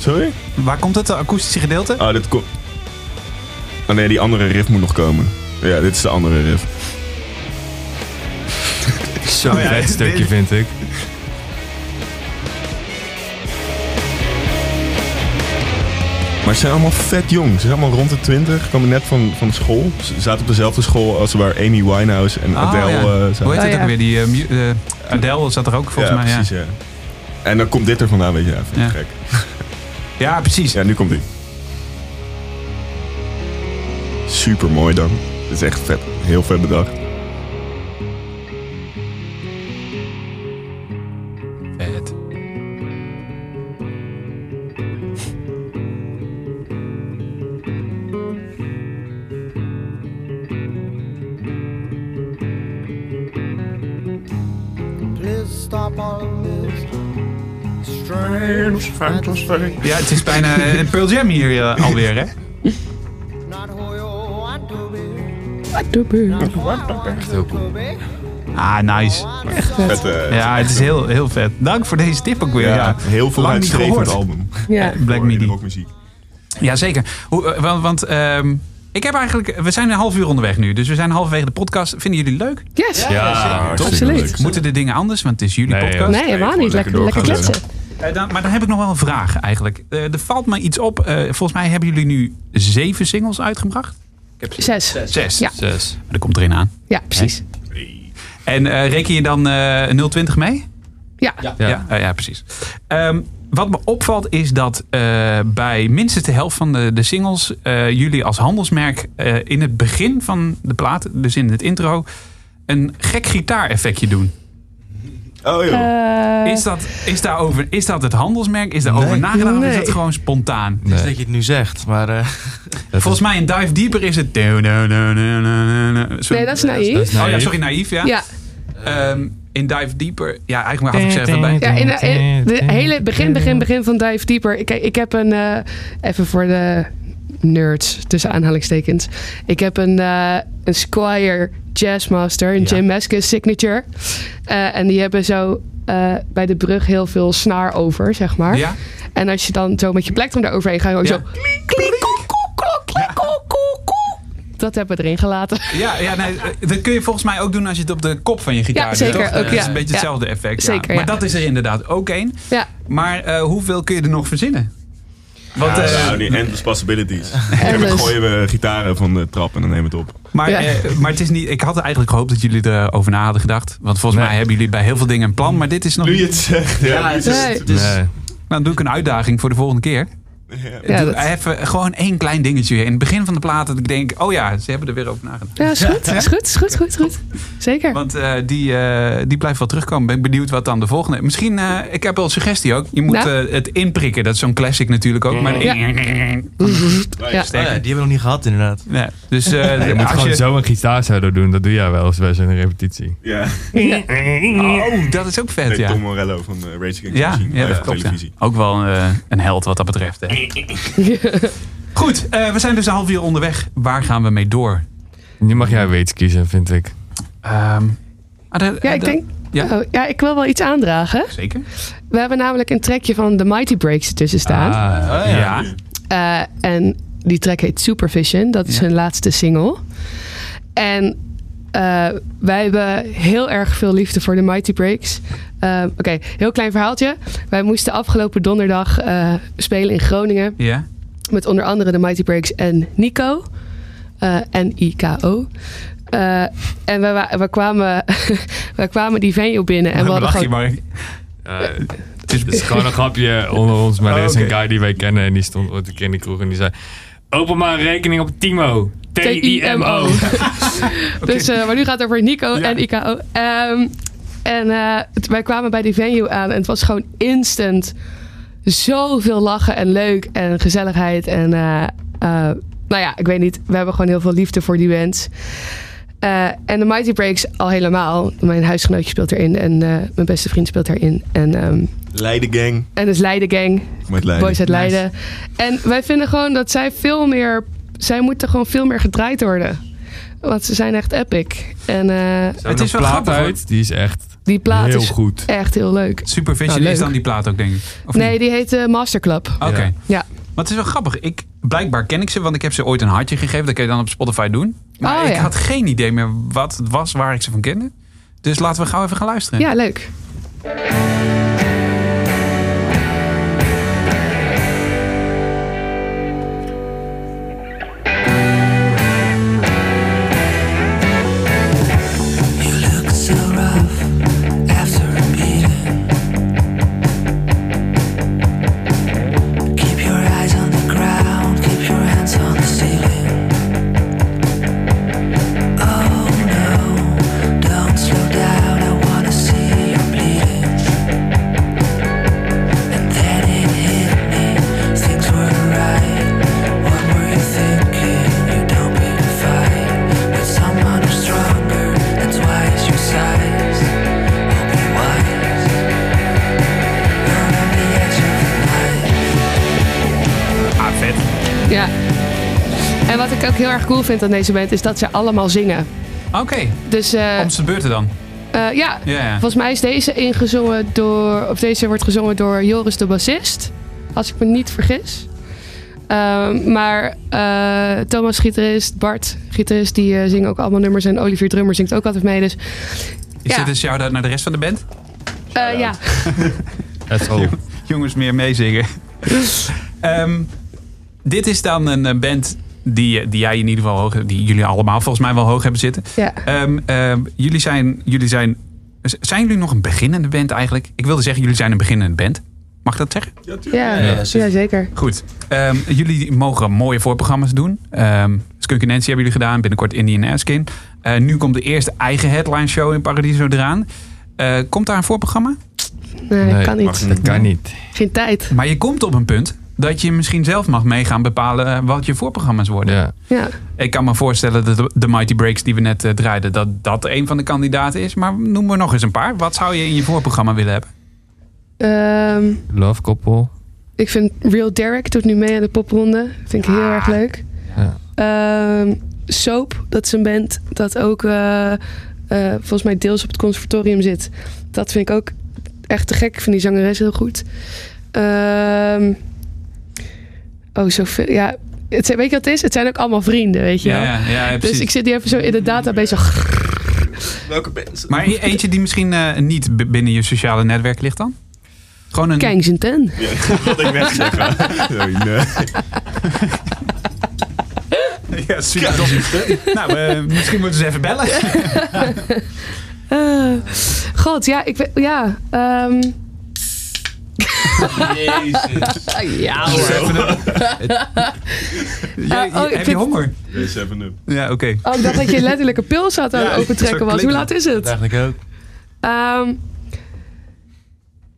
[SPEAKER 6] Sorry?
[SPEAKER 2] Waar komt het, de akoestische gedeelte?
[SPEAKER 6] Oh, dit komt... Oh nee, die andere riff moet nog komen. Ja, dit is de andere riff.
[SPEAKER 5] Zo'n
[SPEAKER 2] ja,
[SPEAKER 5] vet
[SPEAKER 2] dit-
[SPEAKER 5] stukje vind ik.
[SPEAKER 6] Maar ze zijn allemaal vet jong. Ze zijn allemaal rond de 20. Komen net van, van school. Ze zaten op dezelfde school als waar Amy Winehouse en
[SPEAKER 2] Ah,
[SPEAKER 6] Adele
[SPEAKER 2] ja.
[SPEAKER 6] eh, zaten.
[SPEAKER 2] Hoe heet
[SPEAKER 4] Oh,
[SPEAKER 2] het
[SPEAKER 4] ja.
[SPEAKER 2] ook weer? Die, eh, mu- eh, Adele zat er ook volgens
[SPEAKER 6] ja,
[SPEAKER 2] mij.
[SPEAKER 6] precies,
[SPEAKER 2] ja.
[SPEAKER 6] ja. En dan komt dit er vandaan, weet je. Ja, vind ik
[SPEAKER 2] Ja.
[SPEAKER 6] gek.
[SPEAKER 2] ja, precies.
[SPEAKER 6] Ja, nu komt die. Super mooi dan. Dit is echt vet. Heel vet bedacht.
[SPEAKER 2] Vet. Ja, het is bijna eh, een Pearl Jam hier eh, alweer, hè?
[SPEAKER 5] Echt heel cool.
[SPEAKER 2] Ah, nice.
[SPEAKER 6] Vet, eh,
[SPEAKER 2] Ja, het is heel, heel vet. Dank voor deze tip ook weer. Ja,
[SPEAKER 6] ja, heel veel
[SPEAKER 2] lang niet
[SPEAKER 6] uitstrevend
[SPEAKER 2] gehoord.
[SPEAKER 6] album.
[SPEAKER 4] Ja.
[SPEAKER 2] Black
[SPEAKER 6] Voor in de
[SPEAKER 2] Midi.
[SPEAKER 6] rockmuziek.
[SPEAKER 2] Jazeker. Hoe, eh, want want ehm, ik heb eigenlijk... We zijn een half uur onderweg nu, dus we zijn halverwege de podcast. Vinden jullie het leuk?
[SPEAKER 4] Yes.
[SPEAKER 5] Ja,
[SPEAKER 6] Top.
[SPEAKER 4] Absoluut.
[SPEAKER 2] Moeten de dingen anders? Want het is jullie
[SPEAKER 5] Nee,
[SPEAKER 2] podcast.
[SPEAKER 5] joh.
[SPEAKER 4] Nee, helemaal niet. Lekker,
[SPEAKER 6] Lekker
[SPEAKER 4] lekker
[SPEAKER 6] doorgaan.
[SPEAKER 4] kletsen.
[SPEAKER 2] Eh, dan, maar dan heb ik nog wel een vraag eigenlijk. Eh, er valt me iets op. Eh, volgens mij hebben jullie nu zeven singles uitgebracht.
[SPEAKER 4] Zes.
[SPEAKER 2] Zes.
[SPEAKER 4] Ja.
[SPEAKER 5] zes.
[SPEAKER 2] Maar dat komt erin aan.
[SPEAKER 4] Ja, precies.
[SPEAKER 2] En eh, reken je dan eh 020 mee?
[SPEAKER 4] Ja.
[SPEAKER 5] Ja.
[SPEAKER 2] eh, ja precies. Ehm, wat me opvalt is dat eh, bij minstens de helft van de, de singles... eh, jullie als handelsmerk eh, in het begin van de plaat, dus in het intro... een gek gitaareffectje doen.
[SPEAKER 6] Oh joh.
[SPEAKER 4] Eh,
[SPEAKER 2] Is dat, is, daar over, is dat het handelsmerk? Is daar over
[SPEAKER 7] Nee.
[SPEAKER 2] nagedacht of is dat
[SPEAKER 4] Nee.
[SPEAKER 2] gewoon spontaan?
[SPEAKER 7] Het is dat je het nu zegt, maar eh,
[SPEAKER 2] Volgens mij een dive dieper is het... No, no, no, no, no, no. Sorry.
[SPEAKER 4] nee, dat is naïef.
[SPEAKER 2] Oh ja, sorry, naïef, ja.
[SPEAKER 4] Ja,
[SPEAKER 2] Ehm, in dive dieper... Ja, eigenlijk maar had ik ze even bij.
[SPEAKER 4] ja in, in- de hele begin, begin, begin van Dive Deeper. Ik, ik heb een, eh, even voor de nerds, tussen aanhalingstekens. Ik heb een, eh, een Squire Jazzmaster, een Jim Meskis signature. Eh, en die hebben zo eh, bij de brug heel veel snaar over, zeg maar.
[SPEAKER 2] Ja?
[SPEAKER 4] En als je dan zo met je plektrum eroverheen gaat, hoor je
[SPEAKER 2] Ja.
[SPEAKER 4] zo... kliek, kliek, koek, koek, klok, kliek, koek, koek, koek. Dat hebben we erin gelaten.
[SPEAKER 2] Ja, ja nee, eh, dat kun je volgens mij ook doen als je het op de kop van je gitaar
[SPEAKER 4] Ja,
[SPEAKER 2] doet,
[SPEAKER 4] zeker,
[SPEAKER 2] toch? Eh,
[SPEAKER 4] ook,
[SPEAKER 2] Dat is
[SPEAKER 4] ja.
[SPEAKER 2] een beetje
[SPEAKER 4] Ja.
[SPEAKER 2] hetzelfde effect. ja.
[SPEAKER 4] Zeker, ja.
[SPEAKER 2] Maar dat is er inderdaad ook één.
[SPEAKER 4] Ja,
[SPEAKER 2] Maar eh, hoeveel kun je er nog verzinnen? Want, eh,
[SPEAKER 6] nou, die endless
[SPEAKER 4] [laughs]
[SPEAKER 6] possibilities. en dan
[SPEAKER 4] Endless.
[SPEAKER 6] gooien we gitaren van de trap en dan nemen we het op.
[SPEAKER 2] maar,
[SPEAKER 4] Ja.
[SPEAKER 2] eh, maar het is niet, ik had eigenlijk gehoopt dat jullie erover na hadden gedacht. Want volgens mij hebben jullie bij heel veel dingen een plan. Maar dit is nog
[SPEAKER 6] Nu
[SPEAKER 2] niet.
[SPEAKER 6] je het zegt. Ja,
[SPEAKER 7] Ja,
[SPEAKER 6] nu je het
[SPEAKER 4] nee.
[SPEAKER 6] zegt.
[SPEAKER 5] Nee.
[SPEAKER 2] Nou, dan doe ik een uitdaging voor de volgende keer.
[SPEAKER 4] ja,
[SPEAKER 2] doe
[SPEAKER 4] dat,
[SPEAKER 2] even gewoon één klein dingetje weer. In het begin van de plaat dat ik denk, oh ja, ze hebben er weer over nagedacht.
[SPEAKER 4] ja, is goed, is goed, is goed, is goed, is goed. Zeker.
[SPEAKER 2] Want eh, die, eh, die blijft wel terugkomen. Ben ik benieuwd wat dan de volgende... Misschien, eh, ik heb wel een suggestie ook. Je moet
[SPEAKER 4] Nou?
[SPEAKER 2] eh, het inprikken. Dat is zo'n classic natuurlijk ook. Maar
[SPEAKER 4] Ja. Ja.
[SPEAKER 7] oh ja, die hebben we nog niet gehad inderdaad.
[SPEAKER 2] Nee, Dus eh,
[SPEAKER 5] Je moet
[SPEAKER 2] als
[SPEAKER 5] gewoon
[SPEAKER 2] je-
[SPEAKER 5] zo een gitaarsolo doen. Dat doe jij wel eens bij zo'n repetitie.
[SPEAKER 6] Ja,
[SPEAKER 2] Oh, dat is ook vet,
[SPEAKER 6] Nee,
[SPEAKER 2] ja.
[SPEAKER 6] Tom Morello van eh, Rage Against the
[SPEAKER 2] Ja,
[SPEAKER 6] Machine.
[SPEAKER 2] ja,
[SPEAKER 6] live
[SPEAKER 2] dat
[SPEAKER 6] op
[SPEAKER 2] klopt. ja.
[SPEAKER 6] televisie.
[SPEAKER 2] Ook wel eh, een held wat dat betreft. Hè. Goed, eh, we zijn dus een half uur onderweg. Waar gaan we mee door?
[SPEAKER 5] Nu mag jij weet kiezen, vind ik.
[SPEAKER 2] Ehm, ah, de-
[SPEAKER 4] Ja, ik
[SPEAKER 2] de-
[SPEAKER 4] denk...
[SPEAKER 2] Ja.
[SPEAKER 4] Oh, ja, ik wil wel iets aandragen.
[SPEAKER 2] Zeker.
[SPEAKER 4] We hebben namelijk een trackje van The Mighty Breaks ertussen staan.
[SPEAKER 5] Ah,
[SPEAKER 2] ja.
[SPEAKER 4] Eh, en die track heet Supervision. Dat is
[SPEAKER 2] Ja.
[SPEAKER 4] hun laatste single. En eh, wij hebben heel erg veel liefde voor de Mighty Breaks. Eh, Oké, heel klein verhaaltje. Wij moesten afgelopen donderdag eh, spelen in Groningen.
[SPEAKER 2] Ja.
[SPEAKER 4] Met onder andere de Mighty Breaks en Nico. Eh, N-I-K-O. Eh, en we, wa- we, kwamen, [laughs] we kwamen die venue binnen. En we hadden
[SPEAKER 2] lach je
[SPEAKER 4] gewoon...
[SPEAKER 2] maar.
[SPEAKER 5] Eh, Het is gewoon een grapje onder ons, maar er is
[SPEAKER 2] Oh,
[SPEAKER 5] een
[SPEAKER 2] oké.
[SPEAKER 5] guy die wij kennen en die stond ooit een keer in de kroeg en die zei: Open maar een rekening op Timo. T-I-M-O.
[SPEAKER 4] Dus, eh, maar nu gaat het over Nico en IKO. Ehm, en eh, t- wij kwamen bij die venue aan en het was gewoon instant zoveel lachen en leuk en gezelligheid. En eh, eh, nou ja, ik weet niet, we hebben gewoon heel veel liefde voor die band. Eh, en de Mighty Breaks al helemaal. Mijn huisgenootje speelt erin en eh, mijn beste vriend speelt erin. En, ehm
[SPEAKER 6] Leiden Gang.
[SPEAKER 4] en dus Leiden Gang,
[SPEAKER 6] Met Leiden.
[SPEAKER 4] Boys uit Leiden. En wij vinden gewoon dat zij veel meer... Zij moeten gewoon veel meer gedraaid worden. Want ze zijn echt epic. En eh,
[SPEAKER 5] Het is wel
[SPEAKER 2] grappig, hoor.
[SPEAKER 5] uit, die is echt
[SPEAKER 4] die plaat
[SPEAKER 5] heel
[SPEAKER 4] is
[SPEAKER 5] goed.
[SPEAKER 4] echt heel leuk.
[SPEAKER 2] Supervision
[SPEAKER 4] Nou,
[SPEAKER 2] is
[SPEAKER 4] leuk.
[SPEAKER 2] dan die plaat ook, denk ik. Of
[SPEAKER 4] Nee,
[SPEAKER 2] niet?
[SPEAKER 4] die heet eh, Masterclub.
[SPEAKER 2] Oké.
[SPEAKER 5] Ja.
[SPEAKER 4] Ja.
[SPEAKER 2] Maar het is wel grappig. Ik, blijkbaar ken ik ze, want ik heb ze ooit een hartje gegeven. Dat kun je dan op Spotify doen. Maar
[SPEAKER 4] Oh,
[SPEAKER 2] ik
[SPEAKER 4] ja.
[SPEAKER 2] had geen idee meer wat het was waar ik ze van kende. Dus laten we gauw even gaan luisteren.
[SPEAKER 4] Ja, leuk.
[SPEAKER 8] You look so rough after a beating. Keep your eyes on the ground, keep your hands on the ceiling. Oh no, don't slow down, I wanna see you bleeding. And then it hit me, things were right. What were you thinking? You don't pick a fight with someone who's stronger and twice your size. Oh, be wise. Not on the edge of the night.
[SPEAKER 2] Ah, vet.
[SPEAKER 4] Ja. En wat ik ook heel erg cool vind aan deze band is dat ze allemaal zingen.
[SPEAKER 2] Oké,
[SPEAKER 4] Dus eh,
[SPEAKER 2] om zijn beurten dan.
[SPEAKER 4] eh, ja,
[SPEAKER 2] Ja, ja.
[SPEAKER 4] volgens mij is deze ingezongen door, of deze wordt gezongen door Joris de bassist, als ik me niet vergis. Ehm, maar eh, Thomas gitarist, Bart gitarist, die eh, zingen ook allemaal nummers en Olivier drummer zingt ook altijd mee. Dus
[SPEAKER 2] Is
[SPEAKER 4] Ja.
[SPEAKER 2] dit een shout-out naar de rest van de band?
[SPEAKER 4] eh, ja,
[SPEAKER 5] That's all.
[SPEAKER 2] jongens meer
[SPEAKER 4] [laughs]
[SPEAKER 2] meezingen. Ehm, dit is dan een eh, band die, die jij in ieder geval hoog, die jullie allemaal volgens mij wel hoog hebben zitten.
[SPEAKER 4] ja.
[SPEAKER 2] Ehm, ehm, jullie zijn, jullie zijn, z- zijn jullie nog een beginnende band eigenlijk? Ik wilde zeggen, jullie zijn een beginnende band. Mag ik dat zeggen?
[SPEAKER 4] Ja,
[SPEAKER 7] ja,
[SPEAKER 4] ja,
[SPEAKER 7] zeker.
[SPEAKER 4] zeker.
[SPEAKER 2] Goed. Ehm, jullie mogen mooie voorprogramma's doen. Ehm Skunk Nancy hebben jullie gedaan. Binnenkort Indian Askin. Eh, nu komt de eerste eigen headline show in Paradiso eraan. Ehm, Eh, komt daar een voorprogramma?
[SPEAKER 4] Nee, kan niet.
[SPEAKER 5] Dat kan niet.
[SPEAKER 4] Geen tijd.
[SPEAKER 2] Maar je komt op een punt dat je misschien zelf mag meegaan bepalen eh, wat je voorprogramma's worden.
[SPEAKER 5] Ja.
[SPEAKER 4] Ja.
[SPEAKER 2] Ik kan me voorstellen dat de- de Mighty Breaks die we net eh, draaiden, dat dat een van de kandidaten is. Maar noem er nog eens een paar. Wat zou je in je voorprogramma willen hebben?
[SPEAKER 4] Ehm,
[SPEAKER 5] Love couple.
[SPEAKER 4] ik vind Real Derek doet nu mee aan de popronde. Vind ik heel erg leuk.
[SPEAKER 5] Ja.
[SPEAKER 4] Ehm, Soap, dat is een band dat ook eh, eh, volgens mij deels op het conservatorium zit. Dat vind ik ook echt te gek. Ik vind die zangeres heel goed. Ehm, oh, zoveel. Ja, het zijn, weet je wat het is? Het zijn ook allemaal vrienden, weet je wel.
[SPEAKER 2] ja,
[SPEAKER 4] Dus ik zit hier even zo in de database. zo,
[SPEAKER 7] Welke band?
[SPEAKER 2] Maar e- eentje die misschien eh, niet b- binnen je sociale netwerk ligt dan? Gewoon een...
[SPEAKER 4] Gangs in ten.
[SPEAKER 6] Wat ik weg zeggen.
[SPEAKER 4] [laughs]
[SPEAKER 6] Sorry, nee.
[SPEAKER 2] [laughs] Ja, super dom. Nou, eh, misschien moeten ze even bellen.
[SPEAKER 4] Eh, God, ja, ik weet- ja. ehm, [laughs] ja, hoor.
[SPEAKER 2] [laughs] Ja,
[SPEAKER 4] oh,
[SPEAKER 2] heb
[SPEAKER 4] ik
[SPEAKER 2] je
[SPEAKER 4] vind-
[SPEAKER 2] honger?
[SPEAKER 6] Nee, Seven Up.
[SPEAKER 2] Ja, oké.
[SPEAKER 4] Oh, ik dacht dat je letterlijk een pilsat aan het opentrekken
[SPEAKER 2] zo
[SPEAKER 4] was. Hoe
[SPEAKER 2] klinkt
[SPEAKER 4] laat is het?
[SPEAKER 5] Eigenlijk ook.
[SPEAKER 4] Ehm,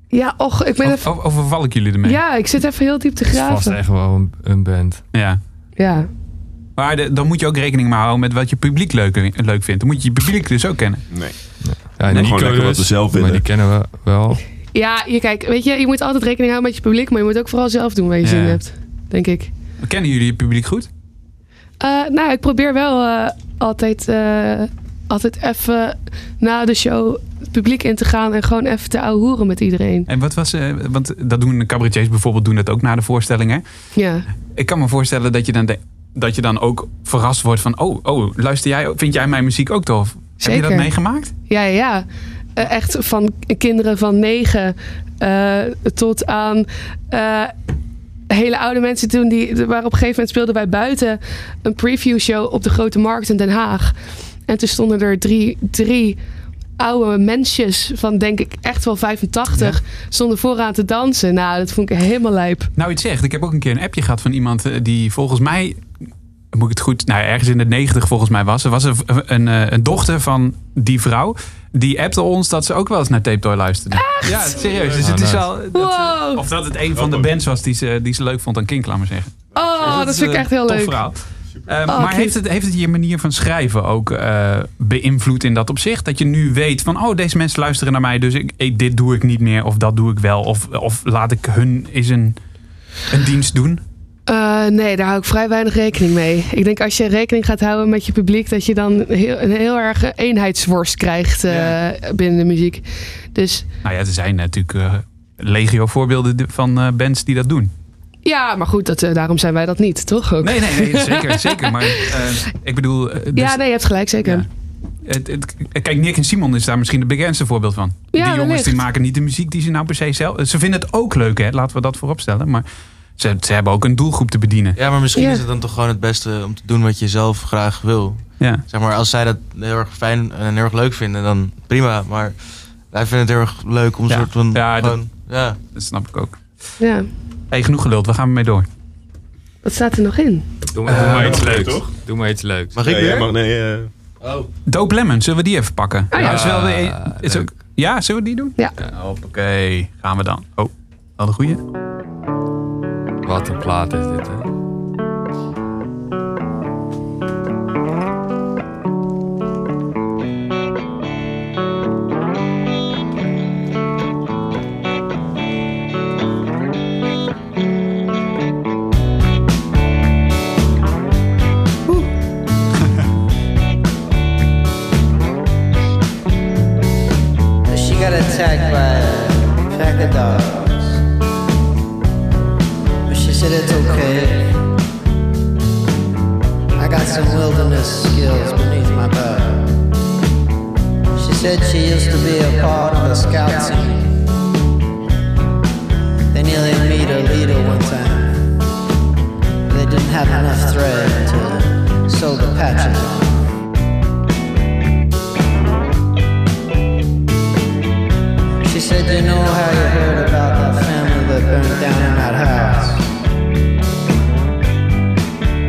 [SPEAKER 4] ja, och, ik ben
[SPEAKER 2] Of-
[SPEAKER 4] even...
[SPEAKER 2] of- overval ik jullie ermee?
[SPEAKER 4] Ja, ik zit even heel diep te
[SPEAKER 5] Het is vast
[SPEAKER 4] graven.
[SPEAKER 5] echt wel een, een band.
[SPEAKER 2] Ja.
[SPEAKER 4] Ja.
[SPEAKER 2] Maar de- dan moet je ook rekening mee houden met wat je publiek leuk, leuk vindt. Dan moet je je publiek dus ook kennen.
[SPEAKER 6] Nee.
[SPEAKER 5] Ja,
[SPEAKER 6] Gewoon
[SPEAKER 5] Nico
[SPEAKER 6] lekker wat we
[SPEAKER 5] dus,
[SPEAKER 6] zelf
[SPEAKER 5] Maar
[SPEAKER 6] willen.
[SPEAKER 5] die kennen we wel.
[SPEAKER 4] ja, je kijk, weet je, je moet altijd rekening houden met je publiek, maar je moet ook vooral zelf doen waar je
[SPEAKER 2] Ja.
[SPEAKER 4] zin in hebt, denk ik.
[SPEAKER 2] Kennen jullie je publiek goed?
[SPEAKER 4] Eh, nou, ik probeer wel eh, altijd, eh, altijd even na de show het publiek in te gaan en gewoon even te ouwehoeren met iedereen.
[SPEAKER 2] En wat was... eh, want dat doen de cabaretiers bijvoorbeeld doen dat ook na de voorstellingen.
[SPEAKER 4] Ja.
[SPEAKER 2] Ik kan me voorstellen dat je dan, de- dat je dan ook verrast wordt van... Oh, oh, luister jij... ook- Vind jij mijn muziek ook tof? Heb je
[SPEAKER 4] Zeker.
[SPEAKER 2] dat meegemaakt?
[SPEAKER 4] Ja, ja, ja. Eh, Echt van kinderen van negen eh, tot aan eh, hele oude mensen toen die, waar op een gegeven moment speelden wij buiten een preview show op de Grote Markt in Den Haag. En toen stonden er drie, drie oude mensjes van denk ik echt wel 85 stonden vooraan te dansen. Nou, dat vond ik helemaal lijp.
[SPEAKER 2] Nou, iets zegt. Ik heb ook een keer een appje gehad van iemand eh, die volgens mij... Moet ik het goed... Nou, ergens in de negentig volgens mij was. Er was een, een, eh, een dochter van die vrouw. Die appte ons dat ze ook wel eens naar Tape Toy luisterde. Ja, serieus. Dus het is wel... dat-
[SPEAKER 4] Wow!
[SPEAKER 2] of dat het een van de bands was die ze, die ze leuk vond aan Kink, laat maar zeggen.
[SPEAKER 4] Oh, dat,
[SPEAKER 2] Dus is
[SPEAKER 4] vind ik
[SPEAKER 2] een
[SPEAKER 4] echt heel
[SPEAKER 2] tof
[SPEAKER 4] leuk.
[SPEAKER 2] verhaal. Eh,
[SPEAKER 4] Oh,
[SPEAKER 2] maar
[SPEAKER 4] cute.
[SPEAKER 2] heeft het, heeft het je manier van schrijven ook eh, beïnvloed in dat opzicht? Dat je nu weet van, oh, deze mensen luisteren naar mij, dus ik, ik- dit doe ik niet meer, of dat doe ik wel, of, of laat ik hun eens een, een dienst doen?
[SPEAKER 4] Eh, nee, daar hou ik vrij weinig rekening mee. Ik denk als je rekening gaat houden met je publiek, dat je dan heel, een heel erg eenheidsworst krijgt eh, binnen de muziek. Dus
[SPEAKER 2] Nou ja, er zijn natuurlijk eh, legio voorbeelden de- van eh, bands die dat doen.
[SPEAKER 4] ja, maar goed, dat, eh, daarom zijn wij dat niet, toch? Ook?
[SPEAKER 2] Nee, nee, nee,
[SPEAKER 4] [laughs]
[SPEAKER 2] zeker, zeker. Maar eh, ik bedoel, eh, dus-
[SPEAKER 4] ja, nee, je hebt gelijk, zeker.
[SPEAKER 2] Ja. het, het- kijk, Nick en Simon is daar misschien het bekendste voorbeeld van. die jongens
[SPEAKER 4] wellicht.
[SPEAKER 2] die maken niet de muziek die ze nou per se zelf... Ze vinden het ook leuk, hè? laten we dat vooropstellen. Maar ze, ze hebben ook een doelgroep te bedienen.
[SPEAKER 7] Ja, maar misschien
[SPEAKER 4] Ja.
[SPEAKER 7] is het dan toch gewoon het beste om te doen wat je zelf graag wil.
[SPEAKER 2] Ja.
[SPEAKER 7] Zeg maar, als zij dat heel erg fijn en heel erg leuk vinden, dan prima. Maar wij vinden het heel erg leuk om een
[SPEAKER 2] Ja.
[SPEAKER 7] soort van...
[SPEAKER 2] Ja, dat-
[SPEAKER 7] gewoon, ja.
[SPEAKER 2] Dat snap ik ook.
[SPEAKER 4] Ja.
[SPEAKER 2] hey, genoeg geluld. We gaan ermee door.
[SPEAKER 4] Wat staat er nog in?
[SPEAKER 5] Doe maar, doe maar iets
[SPEAKER 6] dat is
[SPEAKER 5] leuks.
[SPEAKER 6] leuk, toch?
[SPEAKER 5] Eh, Doe maar iets leuks.
[SPEAKER 7] Mag ik
[SPEAKER 6] Nee,
[SPEAKER 7] weer?
[SPEAKER 6] jij mag, nee, eh,
[SPEAKER 2] Dope Lemon, zullen we die even pakken?
[SPEAKER 4] Ah, ja.
[SPEAKER 2] is wel weer
[SPEAKER 5] Ah,
[SPEAKER 2] een- is
[SPEAKER 5] leuk.
[SPEAKER 2] ook, ja, zullen we die doen?
[SPEAKER 4] Ja.
[SPEAKER 2] Hoppakee, gaan we dan. Oh, wel de goeie.
[SPEAKER 5] Wat een plaat is dit, hè?
[SPEAKER 10] She got attacked by a pack of dogs. But she said it's okay. I got some wilderness skills beneath my belt. She said she used to be a part of a scout team. They nearly meet a leader one time. They didn't have enough thread to sew the patches on. She said, You know how you heard about that family that burned down in that house?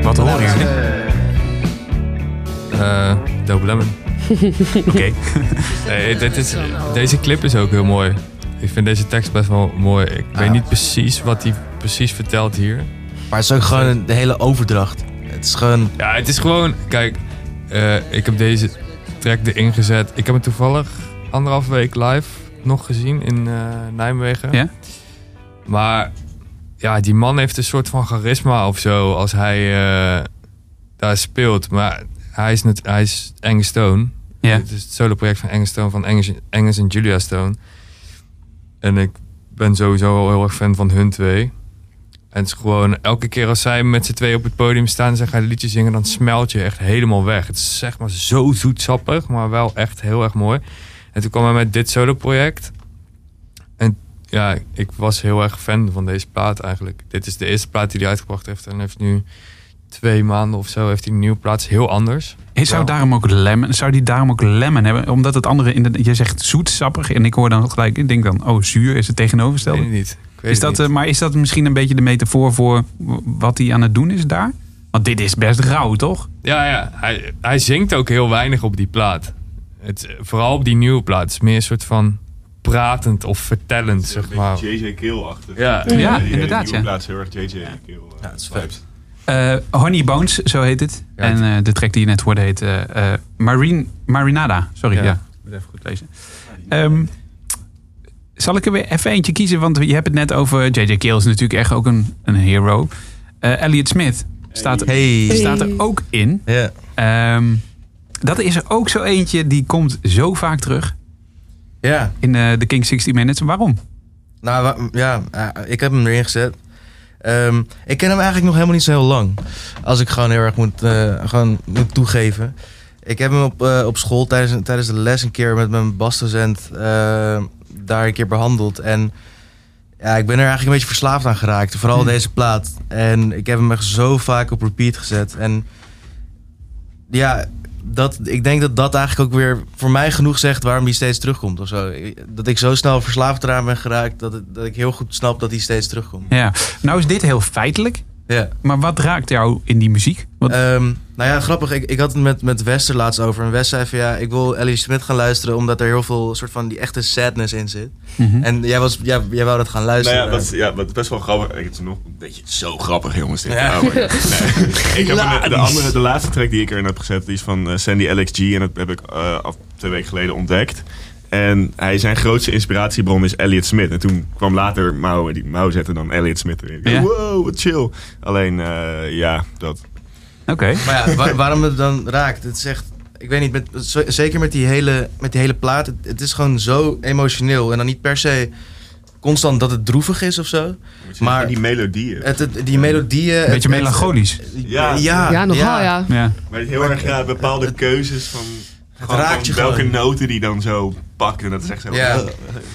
[SPEAKER 2] Wat hoor je?
[SPEAKER 5] Eh, Dope Eh, Lemon. Oké. Nee, dit is, deze clip is ook heel mooi. Ik vind deze tekst best wel mooi. Ik weet niet precies wat hij precies vertelt hier.
[SPEAKER 7] Maar het is ook gewoon een- de hele overdracht. Het is gewoon...
[SPEAKER 5] Ja, het is gewoon. Kijk, eh, ik heb deze track erin gezet. Ik heb hem toevallig anderhalf week live nog gezien in eh, Nijmegen.
[SPEAKER 2] Ja?
[SPEAKER 5] Maar ja, die man heeft een soort van charisma of zo als hij eh, daar speelt. Maar hij is, net, hij is Enge Stone.
[SPEAKER 2] Ja.
[SPEAKER 5] Het is het solo-project van Enge Stone, van Engels, Engels en Julia Stone. En ik ben sowieso al heel erg fan van hun twee. En het is gewoon, elke keer als zij met z'n twee op het podium staan en zij gaan een liedje zingen, dan smelt je echt helemaal weg. Het is zeg maar zo zoetsappig, maar wel echt heel erg mooi. En toen kwam hij met dit solo-project. En ja, ik was heel erg fan van deze plaat eigenlijk. Dit is de eerste plaat die hij uitgebracht heeft. En heeft nu twee maanden of zo heeft hij een nieuwe plaat. Is Heel anders.
[SPEAKER 2] Is, zou,
[SPEAKER 5] Wel.
[SPEAKER 2] daarom ook lemon, zou die daarom ook lemon hebben? Omdat het andere, in de, je zegt zoet, sappig. En ik hoor dan gelijk, ik denk dan, oh zuur is het
[SPEAKER 5] Weet
[SPEAKER 2] tegenovergestelde.
[SPEAKER 5] ik niet. Ik weet
[SPEAKER 2] Is
[SPEAKER 5] het
[SPEAKER 2] dat,
[SPEAKER 5] niet.
[SPEAKER 2] eh, maar is dat misschien een beetje de metafoor voor w- wat hij aan het doen is daar? Want dit is best rauw, toch?
[SPEAKER 5] Ja, ja. Hij, hij zingt ook heel weinig op die plaat. Het, vooral op die nieuwe plaat. Het is meer een soort van pratend of vertellend, zeg maar.
[SPEAKER 6] JJ Kill-achtig.
[SPEAKER 5] Ja.
[SPEAKER 2] Ja,
[SPEAKER 6] die hele
[SPEAKER 2] inderdaad,
[SPEAKER 6] nieuwe
[SPEAKER 2] ja.
[SPEAKER 6] plaats heel erg JJ Kill. Ja,
[SPEAKER 7] het is vibes.
[SPEAKER 2] Eh, Honey Bones, zo heet het.
[SPEAKER 5] Ja,
[SPEAKER 2] en
[SPEAKER 5] het-
[SPEAKER 2] eh, de track die je net hoorde heet eh, eh, Marine, Marinada. Sorry, ja.
[SPEAKER 5] Ja.
[SPEAKER 2] Ik moet even goed lezen. Ehm, zal ik er weer even eentje kiezen? Want je hebt het net over... J.J. Cale is natuurlijk echt ook een, een hero. Eh, Elliot Smith staat, er-
[SPEAKER 7] Hey.
[SPEAKER 2] staat er ook in.
[SPEAKER 7] Ja.
[SPEAKER 2] Ehm, dat is er ook zo eentje die komt zo vaak terug
[SPEAKER 7] Ja.
[SPEAKER 2] in eh The King 60 Minutes. Waarom?
[SPEAKER 7] Nou wa- ja, eh, ik heb hem erin gezet. Ehm, ik ken hem eigenlijk nog helemaal niet zo heel lang. Als ik gewoon heel erg moet, eh, gewoon moet toegeven. Ik heb hem op, eh, op school tijdens, tijdens de les een keer met mijn basdocent eh, daar een keer behandeld. En ja, ik ben er eigenlijk een beetje verslaafd aan geraakt. Vooral deze plaat. En ik heb hem echt zo vaak op repeat gezet. En ja, dat, ik denk dat dat eigenlijk ook weer voor mij genoeg zegt waarom die steeds terugkomt of zo. Dat ik zo snel verslaafd eraan ben geraakt dat, het- dat ik heel goed snap dat die steeds terugkomt.
[SPEAKER 2] Ja. Nou is dit heel feitelijk.
[SPEAKER 7] Ja.
[SPEAKER 2] Maar wat raakt jou in die muziek? Wat,
[SPEAKER 7] Ehm, nou ja, grappig. Ik, ik had het met, met Wester laatst over. En Wes zei van ja, ik wil Ellie Smith gaan luisteren omdat er heel veel soort van die echte sadness in zit.
[SPEAKER 2] Mhm.
[SPEAKER 7] En jij, was, jij, jij wou dat gaan
[SPEAKER 6] Nou
[SPEAKER 7] luisteren.
[SPEAKER 6] ja, dat is, ja, wat best wel grappig. Ik, het is nog een beetje zo grappig, jongens. Dit.
[SPEAKER 7] Ja.
[SPEAKER 6] Oh my God. Nee. ik heb een- de, andere, de laatste track die ik erin heb gezet, die is van eh, Sandy LXG. En dat heb ik eh, af, twee weken geleden ontdekt. En hij, zijn grootste inspiratiebron is Elliot Smith. En toen kwam later Mau, en die Mau zette dan Elliot Smith erin.
[SPEAKER 2] Ja.
[SPEAKER 6] Wow, wat chill. Alleen, eh, ja, dat.
[SPEAKER 2] Oké.
[SPEAKER 7] Maar ja, wa- waarom het dan raakt, het is echt... Ik weet niet, met, z- zeker met die hele, met die hele plaat. Het, het is gewoon zo emotioneel. En dan niet per se constant dat het droevig is of zo. Maar-
[SPEAKER 6] Maar die melodieën.
[SPEAKER 7] Het, het- die melodieën... het-
[SPEAKER 2] Beetje
[SPEAKER 7] het-
[SPEAKER 2] melancholisch.
[SPEAKER 7] Ja,
[SPEAKER 6] Ja.
[SPEAKER 7] Ah, ja,
[SPEAKER 4] Ja, nogal ja.
[SPEAKER 2] Ja.
[SPEAKER 6] Maar heel erg ja, bepaalde keuzes van, gewoon
[SPEAKER 7] raakt
[SPEAKER 6] van
[SPEAKER 7] je
[SPEAKER 6] welke
[SPEAKER 7] gewoon.
[SPEAKER 6] noten die dan zo pakken. Dat is echt zo.
[SPEAKER 7] Ja.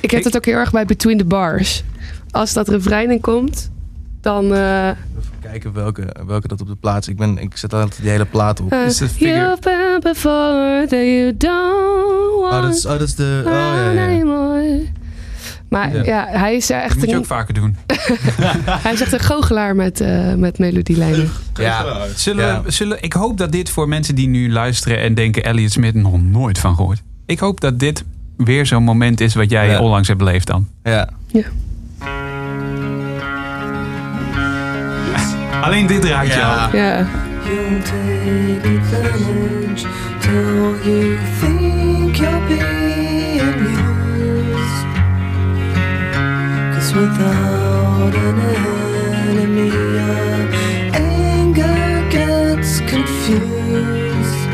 [SPEAKER 4] Ik heb dat ook heel erg bij Between the Bars. Als dat refrein in komt, dan... eh,
[SPEAKER 7] Even kijken welke, welke dat op de plaats. Ik, ben, ik zet altijd die hele plaat op.
[SPEAKER 4] eh,
[SPEAKER 2] Is dat figure-
[SPEAKER 4] You've been before that you don't want
[SPEAKER 7] Oh, dat is, oh, dat is de... Oh, ja, ja.
[SPEAKER 4] anymore. Maar
[SPEAKER 2] Ja.
[SPEAKER 4] ja. hij is eh,
[SPEAKER 2] Dat
[SPEAKER 4] echt
[SPEAKER 2] moet je
[SPEAKER 4] een,
[SPEAKER 2] ook vaker doen.
[SPEAKER 4] hij is echt een goochelaar met, eh met melodielijnen.
[SPEAKER 7] Ja.
[SPEAKER 2] Zullen
[SPEAKER 7] Ja.
[SPEAKER 2] we, zullen, ik hoop dat dit voor mensen die nu luisteren en denken Elliot Smith nog nooit van gehoord. Ik hoop dat dit weer zo'n moment is wat jij
[SPEAKER 7] Ja.
[SPEAKER 2] onlangs hebt beleefd dan.
[SPEAKER 7] ja.
[SPEAKER 2] Alleen dit raakt jou.
[SPEAKER 4] Ja.
[SPEAKER 9] You'll take advantage till you think you're being used. 'Cause without an enemy, your anger gets confused.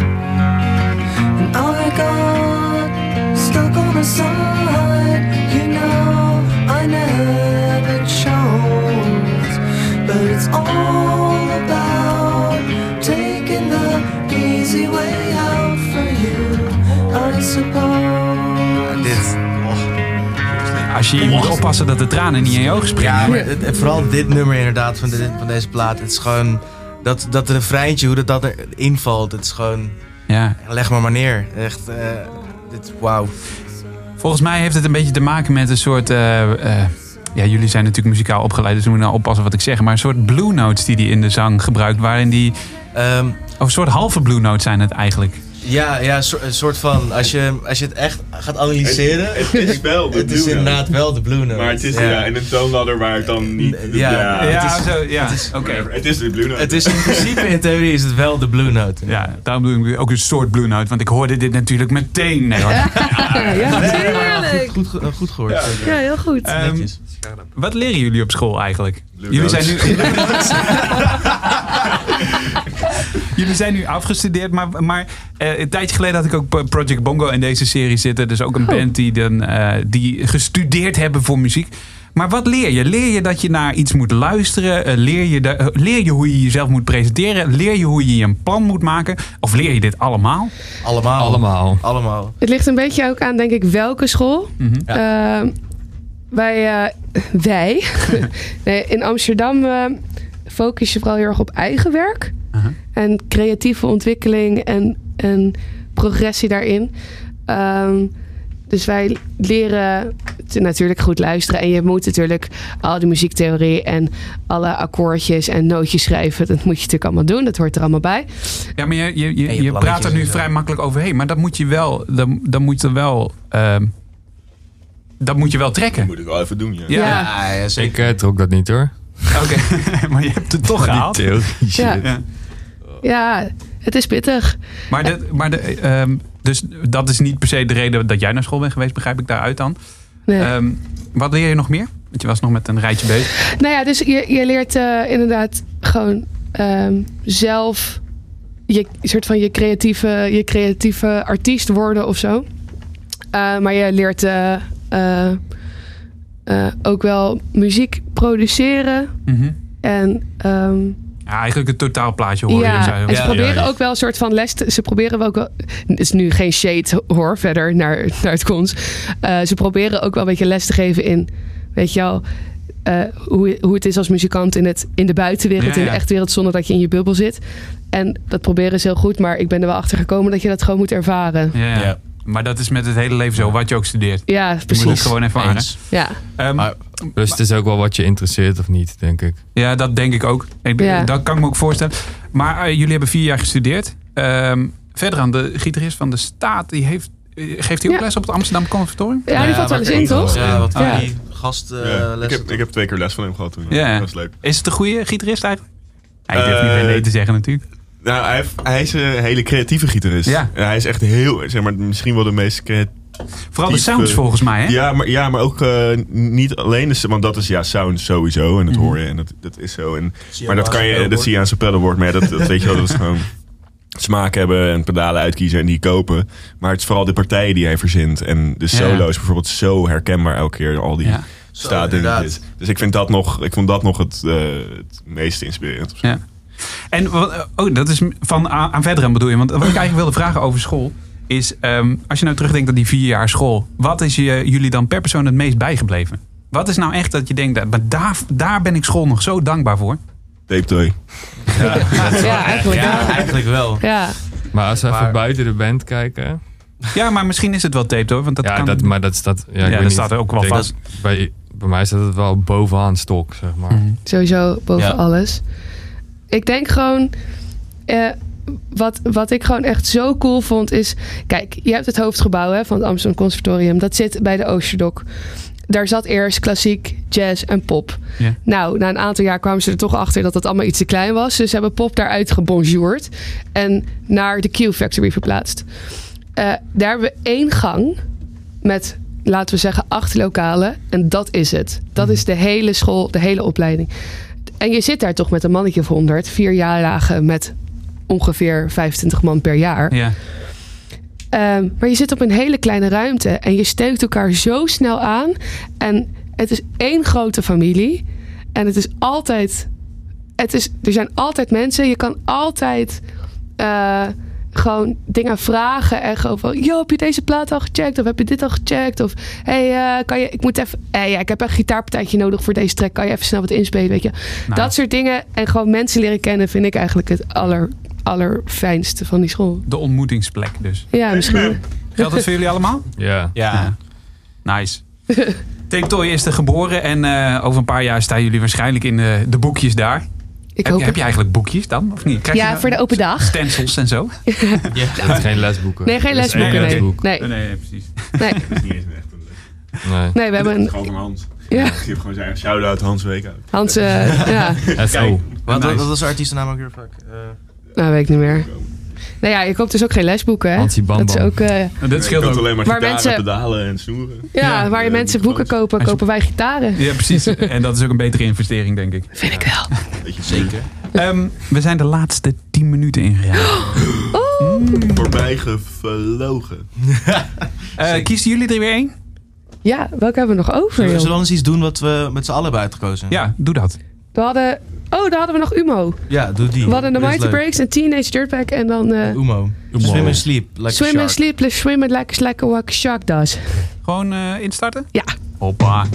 [SPEAKER 9] And all I got stuck on the side, you know, I never chose. But it's all about taking the easy way out for you, I suppose.
[SPEAKER 7] Dit.
[SPEAKER 2] Als je, je moet oppassen dat de tranen niet in je ogen springen.
[SPEAKER 7] Ja, maar het- het- vooral dit nummer inderdaad van, dit- van deze plaat. Het is gewoon... Dat, dat refreintje, hoe dat, dat erin valt. Het is gewoon...
[SPEAKER 2] Ja.
[SPEAKER 7] Leg maar maar neer. Echt... eh, dit, wauw.
[SPEAKER 2] Volgens mij heeft het een beetje te maken met een soort... eh, eh, ja, jullie zijn natuurlijk muzikaal opgeleid, dus we moeten nou oppassen wat ik zeg. Maar een soort blue notes die hij in de zang gebruikt, waarin die...
[SPEAKER 7] Ehm,
[SPEAKER 2] Oh, Of een soort halve blue note zijn het eigenlijk.
[SPEAKER 7] Ja, ja so- een soort van. Als je, als je het echt gaat analyseren.
[SPEAKER 6] Het- het
[SPEAKER 7] [laughs]
[SPEAKER 6] is wel de
[SPEAKER 7] Het is
[SPEAKER 6] Blue Note.
[SPEAKER 7] inderdaad wel de Blue Note.
[SPEAKER 6] Maar het is ja. in een toonladder waar ik dan niet...
[SPEAKER 7] Ja.
[SPEAKER 6] Ja,
[SPEAKER 2] Ja, zo, ja. Oké.
[SPEAKER 6] het is de Blue Note.
[SPEAKER 7] Het is in principe, in theorie, is het wel de Blue Note.
[SPEAKER 2] Ja, daarom doe ik ook een soort Blue Note, want ik hoorde dit natuurlijk meteen. Nee, hoor.
[SPEAKER 4] ja,
[SPEAKER 7] Goed,
[SPEAKER 4] natuurlijk.
[SPEAKER 7] goed, ge- eh, goed gehoord.
[SPEAKER 4] Ja, heel goed.
[SPEAKER 2] Ehm,
[SPEAKER 7] Netjes.
[SPEAKER 2] wat leren jullie op school eigenlijk?
[SPEAKER 6] Blue
[SPEAKER 2] jullie, zijn
[SPEAKER 6] Notes.
[SPEAKER 2] nu, [laughs] jullie zijn nu afgestudeerd, maar, maar eh, een tijdje geleden had ik ook Pro- Project Bongo in deze serie zitten. Dus ook een band die, dan, eh, die gestudeerd hebben voor muziek. Maar wat leer je? Leer je dat je naar iets moet luisteren? Eh, leer, je de- eh, leer je hoe je jezelf moet presenteren? Leer je hoe je een plan moet maken? Of leer je dit allemaal?
[SPEAKER 7] Allemaal.
[SPEAKER 5] Allemaal.
[SPEAKER 7] Allemaal.
[SPEAKER 4] Het ligt een beetje ook aan, denk ik, welke school. Ehm, wij, eh, wij nee, in Amsterdam eh, focus je vooral heel erg op eigen werk.
[SPEAKER 2] Aha.
[SPEAKER 4] En creatieve ontwikkeling en, en progressie daarin. Ehm, dus wij leren te- natuurlijk goed luisteren. En je moet natuurlijk al die muziektheorie en alle akkoordjes en nootjes schrijven. Dat moet je natuurlijk allemaal doen. Dat hoort er allemaal bij.
[SPEAKER 2] Ja, maar je, je, je,
[SPEAKER 7] En je
[SPEAKER 2] je praat er
[SPEAKER 7] plannetjes
[SPEAKER 2] nu
[SPEAKER 7] en zo.
[SPEAKER 2] vrij makkelijk overheen. Maar dat moet je wel, dan, dan moet je wel, ehm, dat moet je wel trekken.
[SPEAKER 6] [laughs] moet ik wel even doen, ja.
[SPEAKER 2] Ja,
[SPEAKER 7] Ja, ja,
[SPEAKER 5] Ik eh, trok dat niet hoor.
[SPEAKER 2] oké. [laughs] maar je hebt het toch gehaald.
[SPEAKER 5] Die theorie shit.
[SPEAKER 4] Ja.
[SPEAKER 2] Ja.
[SPEAKER 4] Ja, het is pittig.
[SPEAKER 2] Maar, de, maar de, ehm, dus dat is niet per se de reden dat jij naar school bent geweest, begrijp ik daaruit dan.
[SPEAKER 4] Nee.
[SPEAKER 2] Ehm, wat leer je nog meer? Want je was nog met een rijtje bezig.
[SPEAKER 4] Nou ja, dus je, je leert eh, inderdaad gewoon ehm, zelf je soort van je creatieve, je creatieve artiest worden of zo. Eh, maar je leert eh, eh, eh, ook wel muziek produceren
[SPEAKER 2] Mhm.
[SPEAKER 4] en ehm,
[SPEAKER 2] Ja, eigenlijk het totaalplaatje hoor je.
[SPEAKER 4] ja,
[SPEAKER 2] zou je
[SPEAKER 4] en ze
[SPEAKER 2] wel-
[SPEAKER 4] proberen ook wel een soort van les. Te, ze proberen wel ook wel. Het is nu geen shade hoor, verder naar, naar het cons. Eh, ze proberen ook wel een beetje les te geven in. Weet je wel. eh, hoe, hoe het is als muzikant in, het, in de buitenwereld,
[SPEAKER 2] Ja,
[SPEAKER 4] in de
[SPEAKER 2] ja.
[SPEAKER 4] echte wereld, zonder dat je in je bubbel zit. En dat proberen ze heel goed, maar ik ben er wel achter gekomen dat je dat gewoon moet ervaren.
[SPEAKER 2] Ja, ja.
[SPEAKER 7] Ja.
[SPEAKER 2] Maar dat is met het hele leven zo, wat je ook studeert.
[SPEAKER 4] Ja,
[SPEAKER 2] Je moet het
[SPEAKER 4] precies.
[SPEAKER 2] gewoon ervaren.
[SPEAKER 7] Eens.
[SPEAKER 4] Ja.
[SPEAKER 2] Ehm,
[SPEAKER 7] Maar-
[SPEAKER 5] Dus het is ook wel wat je interesseert of niet, denk ik.
[SPEAKER 2] Ja, dat denk ik ook. Ik,
[SPEAKER 4] Ja.
[SPEAKER 2] Dat kan ik me ook voorstellen. Maar eh, jullie hebben vier jaar gestudeerd. Ehm verder aan de gitarist van de staat, die heeft, eh, geeft hij ook
[SPEAKER 4] Ja.
[SPEAKER 2] les op het Amsterdam Conservatorium?
[SPEAKER 4] ja, die valt wel eens in, toch?
[SPEAKER 7] Ja, wat
[SPEAKER 2] Ja.
[SPEAKER 7] van die gastlessen.
[SPEAKER 6] Ja, ik, heb, ik heb twee keer les van hem gehad toen.
[SPEAKER 2] Ja.
[SPEAKER 6] Dat was leuk.
[SPEAKER 2] Is het een goede gitarist eigenlijk? Hij durft
[SPEAKER 6] Eh,
[SPEAKER 2] niet meer nee te zeggen natuurlijk.
[SPEAKER 6] Nou, hij, heeft- hij is een hele creatieve gitarist.
[SPEAKER 2] Ja.
[SPEAKER 6] En hij is echt heel, zeg maar, misschien wel de meest creatieve.
[SPEAKER 2] Vooral de
[SPEAKER 6] diep,
[SPEAKER 2] sounds
[SPEAKER 6] eh,
[SPEAKER 2] volgens mij, hè?
[SPEAKER 6] Ja, maar, ja, maar ook eh, niet alleen. de s- want dat is ja, sound sowieso. En dat hoor je. En dat, dat is zo. En,
[SPEAKER 7] je
[SPEAKER 6] maar
[SPEAKER 7] aan
[SPEAKER 6] dat, kan
[SPEAKER 7] zijn
[SPEAKER 6] je, dat
[SPEAKER 7] pedalboard.
[SPEAKER 6] zie je aan zijn pedalboard. Maar ja, dat, dat weet je wel. Dat is gewoon smaak hebben en pedalen uitkiezen en die kopen. Maar het is vooral de partijen die hij verzint. En de solo's bijvoorbeeld zo herkenbaar elke keer. Al die
[SPEAKER 2] Ja.
[SPEAKER 7] Zo,
[SPEAKER 6] staat dingetjes.
[SPEAKER 7] inderdaad.
[SPEAKER 6] Dus ik, vind dat nog, ik vond dat nog het, eh, het meest inspirerend. of zo.
[SPEAKER 2] Ja. En wat- eh, oh, dat is m- van aan, aan verder aan bedoel je. Want wat ik eigenlijk wilde vragen over school is, ehm, als je nou terugdenkt aan die vier jaar school, wat is je, jullie dan per persoon het meest bijgebleven? Wat is nou echt dat je denkt, eh, maar daar, daar ben ik school nog zo dankbaar voor?
[SPEAKER 6] Tape toy.
[SPEAKER 4] Ja, eigenlijk
[SPEAKER 7] Ja,
[SPEAKER 4] wel.
[SPEAKER 7] eigenlijk
[SPEAKER 4] [laughs]
[SPEAKER 7] wel.
[SPEAKER 4] Ja,
[SPEAKER 5] Maar als we even
[SPEAKER 7] Maar-
[SPEAKER 5] buiten de band kijken.
[SPEAKER 2] Ja, maar misschien is het wel tape hoor. Want dat
[SPEAKER 5] ja,
[SPEAKER 2] kan...
[SPEAKER 5] dat, maar dat staat. Ja, ik
[SPEAKER 2] Ja,
[SPEAKER 5] weet
[SPEAKER 2] dat
[SPEAKER 5] niet.
[SPEAKER 2] staat er ook wel
[SPEAKER 5] Ik denk
[SPEAKER 2] vast.
[SPEAKER 5] dat- Bij, bij mij staat het wel bovenaan stok, zeg maar.
[SPEAKER 2] Mhm.
[SPEAKER 4] sowieso boven
[SPEAKER 7] Ja.
[SPEAKER 4] alles. Ik denk gewoon. eh, wat, wat ik gewoon echt zo cool vond is. Kijk, je hebt het hoofdgebouw hè, van het Amsterdam Conservatorium. Dat zit bij de Oosterdok. Daar zat eerst klassiek, jazz en pop.
[SPEAKER 2] Ja.
[SPEAKER 4] Nou, na een aantal jaar kwamen ze er toch achter dat dat allemaal iets te klein was. Dus ze hebben pop daaruit gebonjourd en naar de Q-Factory verplaatst. Eh, daar hebben we één gang met, laten we zeggen, acht lokalen. En dat is het. Dat is de hele school, de hele opleiding. En je zit daar toch met een mannetje of 100, vier jaarlagen met ongeveer 25 man per jaar.
[SPEAKER 2] Ja.
[SPEAKER 4] Ehm, maar je zit op een hele kleine ruimte en je steunt elkaar zo snel aan. En het is één grote familie. En het is altijd. Het is, er zijn altijd mensen. Je kan altijd eh, gewoon dingen vragen. En gewoon van: Yo, heb je deze plaat al gecheckt? Of heb je dit al gecheckt? Of hey, eh, kan je, ik moet even. eh, ja, ik heb een gitaarpartijtje nodig voor deze track. Kan je even snel wat inspelen? Weet je?
[SPEAKER 2] Nou.
[SPEAKER 4] Dat soort dingen. En gewoon mensen leren kennen vind ik eigenlijk het aller, allerfijnste van die school.
[SPEAKER 2] De ontmoetingsplek dus.
[SPEAKER 4] Ja, misschien.
[SPEAKER 2] Geldt dat voor jullie allemaal?
[SPEAKER 5] [laughs] Ja.
[SPEAKER 7] Ja.
[SPEAKER 2] Nice. Tape Toy is er geboren en eh, over een paar jaar staan jullie waarschijnlijk in eh, de boekjes daar.
[SPEAKER 4] Ik
[SPEAKER 2] Heb
[SPEAKER 4] hoop
[SPEAKER 2] je, heb je eigenlijk boekjes dan? Of niet? Krijg je
[SPEAKER 4] Ja,
[SPEAKER 2] dan
[SPEAKER 4] voor de open dag.
[SPEAKER 2] Stencils en zo?
[SPEAKER 5] Het is geen lesboeken.
[SPEAKER 4] Nee, geen
[SPEAKER 5] Het is één
[SPEAKER 4] lesboeken. Nee,
[SPEAKER 5] lesboek.
[SPEAKER 4] nee,
[SPEAKER 2] Oh, nee,
[SPEAKER 5] [laughs]
[SPEAKER 2] precies.
[SPEAKER 4] nee.
[SPEAKER 6] Dat is niet eens echt een leuk.
[SPEAKER 5] Nee.
[SPEAKER 4] nee we hebben een...
[SPEAKER 6] Gewoon van Hans.
[SPEAKER 4] Ja,
[SPEAKER 6] Die heeft gewoon zijn eigen shout-out Hans Weekhout.
[SPEAKER 4] Hans, eh, ja,
[SPEAKER 5] FO.
[SPEAKER 7] Wat,
[SPEAKER 2] Nice.
[SPEAKER 7] wat, wat was de artiestennaam ook weer? Fuck. Eh,
[SPEAKER 4] nou weet ik niet meer. Nou ja, je koopt dus ook geen lesboeken, hè?
[SPEAKER 5] Hansie Bam
[SPEAKER 4] Dat is
[SPEAKER 5] Bam.
[SPEAKER 4] ook... eh,
[SPEAKER 2] dat scheelt
[SPEAKER 6] Je koopt
[SPEAKER 2] ook.
[SPEAKER 6] alleen maar
[SPEAKER 4] Waar
[SPEAKER 6] gitaren,
[SPEAKER 4] mensen-
[SPEAKER 6] pedalen en snoeren.
[SPEAKER 4] ja, waar je
[SPEAKER 6] eh,
[SPEAKER 4] mensen
[SPEAKER 6] die
[SPEAKER 4] boeken
[SPEAKER 6] groot.
[SPEAKER 4] kopen, kopen wij gitaren.
[SPEAKER 2] Ja,
[SPEAKER 5] [laughs]
[SPEAKER 2] precies. En dat is ook een betere investering, denk ik.
[SPEAKER 4] Vind ik wel.
[SPEAKER 6] Beetje zeker.
[SPEAKER 2] Ehm, we zijn de laatste 10 minuten ingegaan.
[SPEAKER 6] Voorbij gevlogen.
[SPEAKER 2] Eh kiezen jullie er weer één?
[SPEAKER 4] Ja, welke hebben we nog over,
[SPEAKER 7] zullen we
[SPEAKER 4] joh?
[SPEAKER 7] dan eens iets doen wat we met z'n allen hebben uitgekozen?
[SPEAKER 2] Ja, doe dat.
[SPEAKER 4] We hadden... Oh, daar hadden we nog Umo.
[SPEAKER 7] Ja, doe die.
[SPEAKER 4] We hadden de
[SPEAKER 7] Dat is
[SPEAKER 4] Mighty
[SPEAKER 7] leuk.
[SPEAKER 4] Breaks en Teenage Dirtbag en dan... eh,
[SPEAKER 7] Umo. Swim and sleep. Like a
[SPEAKER 4] swim and
[SPEAKER 7] shark.
[SPEAKER 4] sleep, let's swim and like, like what a shark does.
[SPEAKER 2] Gewoon eh, instarten?
[SPEAKER 4] Ja.
[SPEAKER 2] Hoppa.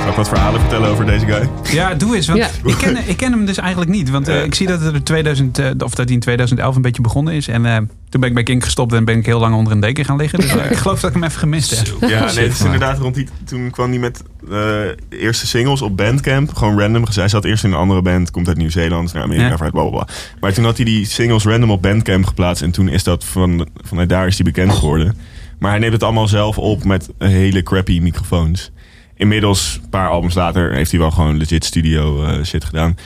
[SPEAKER 6] Zal ik wat verhalen vertellen over deze guy?
[SPEAKER 2] Ja, doe eens. Want
[SPEAKER 4] Ja.
[SPEAKER 2] ik, ken, ik ken hem dus eigenlijk niet. Want eh,
[SPEAKER 6] Ja.
[SPEAKER 2] ik zie dat, het er 2000, eh, of dat hij in 2011 een beetje begonnen is. En eh, toen ben ik bij Kink gestopt en ben ik heel lang onder een deken gaan liggen. Dus eh, ik geloof dat ik hem even gemist heb.
[SPEAKER 6] [laughs] Ja, nee, het is inderdaad rond die. Toen kwam hij met eh, eerste singles op Bandcamp. Gewoon random. Hij zat eerst in een andere band, komt uit Nieuw-Zeeland, is naar Amerika,
[SPEAKER 2] Ja.
[SPEAKER 6] vanuit blablabla. Maar toen had hij die singles random op Bandcamp geplaatst. En toen is dat van, vanuit daar is hij bekend geworden. Maar hij neemt het allemaal zelf op met hele crappy microfoons. Inmiddels, een paar albums later, heeft hij wel gewoon legit studio eh, shit gedaan.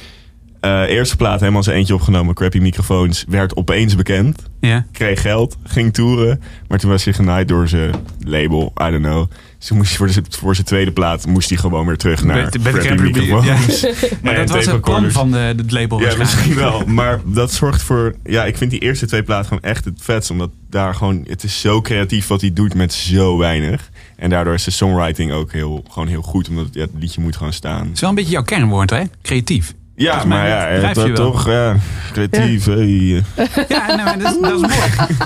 [SPEAKER 6] Eh, eerste plaat, helemaal zijn eentje opgenomen, crappy microfoons, werd opeens bekend
[SPEAKER 2] Ja.
[SPEAKER 6] kreeg geld, ging toeren. Maar toen was hij genaaid door zijn label, I don't know. Dus toen moest hij voor, zijn- voor zijn tweede plaat moest hij gewoon weer terug naar
[SPEAKER 2] Bij- bij de
[SPEAKER 6] crappy
[SPEAKER 2] Crappy Beat,
[SPEAKER 6] [laughs] microfoons.
[SPEAKER 2] Maar
[SPEAKER 6] En
[SPEAKER 2] dat was
[SPEAKER 6] tape
[SPEAKER 2] het plan
[SPEAKER 6] recorders.
[SPEAKER 2] van de, het label
[SPEAKER 6] Ja,
[SPEAKER 2] waarschijnlijk.
[SPEAKER 6] misschien wel. Maar dat zorgt voor... Ja, ik vind die eerste twee platen gewoon echt het vetst. Omdat daar gewoon... Het is zo creatief wat hij doet met zo weinig. En daardoor is de songwriting ook heel, gewoon heel goed. Omdat ja, het liedje moet gewoon staan.
[SPEAKER 2] Het is wel een beetje jouw kernwoord, hè? Creatief.
[SPEAKER 6] Ja,
[SPEAKER 2] Volgens mij
[SPEAKER 6] maar ja, eh,
[SPEAKER 2] drijf
[SPEAKER 6] dat
[SPEAKER 2] je wel.
[SPEAKER 6] toch... Ja, creatief. hey.
[SPEAKER 2] Ja, nou, maar dat, is- dat is mooi.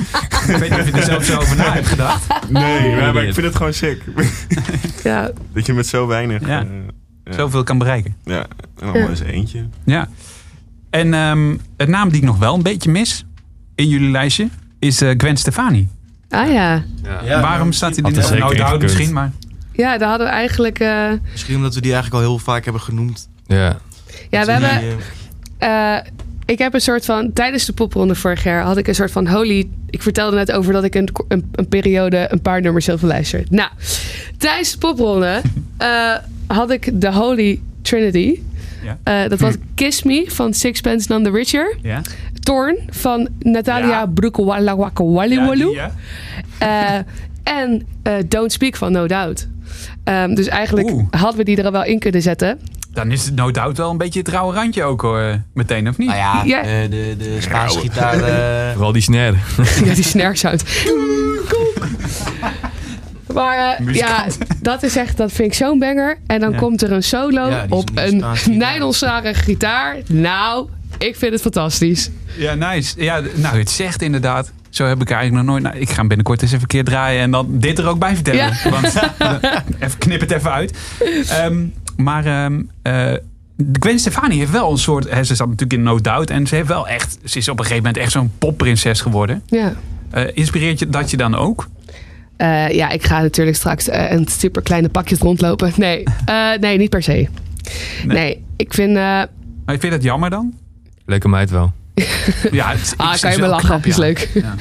[SPEAKER 2] ik weet niet of je er zelf zo over na hebt gedacht.
[SPEAKER 6] Nee, maar, maar ik vind het gewoon sick. [laughs]
[SPEAKER 4] Ja,
[SPEAKER 6] dat je met zo weinig...
[SPEAKER 2] Ja.
[SPEAKER 6] eh,
[SPEAKER 2] Zoveel kan bereiken.
[SPEAKER 6] Ja, oh, en allemaal eens eentje.
[SPEAKER 2] Ja. En ehm een naam die ik nog wel een beetje mis in jullie lijstje is eh, Gwen Stefani.
[SPEAKER 4] ah ja.
[SPEAKER 7] Ja,
[SPEAKER 2] Waarom staat hij
[SPEAKER 5] Had
[SPEAKER 2] er
[SPEAKER 5] er
[SPEAKER 2] niet?
[SPEAKER 5] zeker
[SPEAKER 2] Nou,
[SPEAKER 5] in
[SPEAKER 2] down
[SPEAKER 5] gekund.
[SPEAKER 2] misschien, maar...
[SPEAKER 4] Ja, daar hadden we eigenlijk... eh,
[SPEAKER 7] Misschien omdat we die eigenlijk al heel vaak hebben genoemd.
[SPEAKER 5] Ja.
[SPEAKER 4] ja, we
[SPEAKER 7] Die,
[SPEAKER 4] hebben...
[SPEAKER 7] eh,
[SPEAKER 4] Eh, ik heb een soort van, tijdens de popronde vorig jaar had ik een soort van holy. Ik vertelde net over dat ik een, een, een periode een paar nummers heel veel luister. Nou, tijdens de
[SPEAKER 2] [laughs]
[SPEAKER 4] popronde eh, had ik de Holy Trinity.
[SPEAKER 2] Ja.
[SPEAKER 4] Eh, dat was Kiss Me van Sixpence None the Richer.
[SPEAKER 2] Ja.
[SPEAKER 4] Torn van Natalia
[SPEAKER 2] Ja.
[SPEAKER 4] Broekewalawakawaliwalu.
[SPEAKER 2] Ja,
[SPEAKER 4] Eh, en eh, Don't Speak van No Doubt. Ehm, dus eigenlijk
[SPEAKER 2] Oeh.
[SPEAKER 4] hadden we die er wel in kunnen zetten.
[SPEAKER 2] Dan is het no doubt wel een beetje het rauwe randje ook hoor, meteen of niet?
[SPEAKER 7] Nou ja,
[SPEAKER 4] Ja.
[SPEAKER 7] eh, de, de Spaanse gitaar. eh,
[SPEAKER 5] Vooral die snare.
[SPEAKER 4] [laughs] Ja, die snare sound. Maar eh, ja, dat is echt, dat vind ik zo'n banger. En dan
[SPEAKER 2] Ja.
[SPEAKER 4] komt er een solo
[SPEAKER 7] Ja, die is-
[SPEAKER 4] op
[SPEAKER 7] die is
[SPEAKER 4] een
[SPEAKER 7] naast gitaar.
[SPEAKER 4] nylonzarige gitaar. Nou, ik vind het fantastisch.
[SPEAKER 2] Ja, nice. Ja, d- nou, het zegt inderdaad. Zo heb ik eigenlijk nog nooit... Nou, ik ga hem binnenkort eens even een keer draaien en dan dit er ook bij vertellen.
[SPEAKER 4] Ja.
[SPEAKER 2] [laughs] Want, eh, even knip het even uit. Ehm, maar ehm, eh, Gwen Stefani heeft wel een soort... Hè, ze zat natuurlijk in No Doubt en ze heeft wel echt... Ze is op een gegeven moment echt zo'n popprinses geworden.
[SPEAKER 4] Ja.
[SPEAKER 2] Eh, inspireert je dat je dan ook?
[SPEAKER 4] Eh, ja, ik ga natuurlijk straks eh, een super kleine pakje rondlopen. Nee, eh, nee, niet per se. Nee, ik vind. eh
[SPEAKER 2] Maar vind je dat jammer
[SPEAKER 4] [laughs]
[SPEAKER 2] dan?
[SPEAKER 5] Leuke meid wel.
[SPEAKER 2] Ja, het,
[SPEAKER 4] ah,
[SPEAKER 2] is
[SPEAKER 4] kan je
[SPEAKER 2] wel
[SPEAKER 4] me lachen?
[SPEAKER 2] knap, ja.
[SPEAKER 4] Is leuk.
[SPEAKER 2] Ja.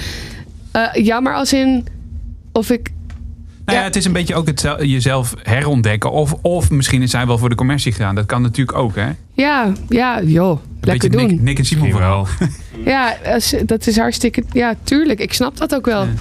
[SPEAKER 4] Eh, jammer als in. Of ik.
[SPEAKER 2] Nou ja,
[SPEAKER 4] Ja.
[SPEAKER 2] het is een beetje ook het zel- jezelf herontdekken. Of, of misschien is zij wel voor de commercie gegaan. Dat kan natuurlijk ook, hè? Een
[SPEAKER 4] Ja, ja, joh. Lekker
[SPEAKER 2] beetje
[SPEAKER 4] doen.
[SPEAKER 2] Nick, Nick en Simon
[SPEAKER 5] Misschien
[SPEAKER 2] vooral.
[SPEAKER 5] wel.
[SPEAKER 4] Ja, als- dat is hartstikke. Ja, tuurlijk. Ik snap dat ook wel.
[SPEAKER 2] Ja.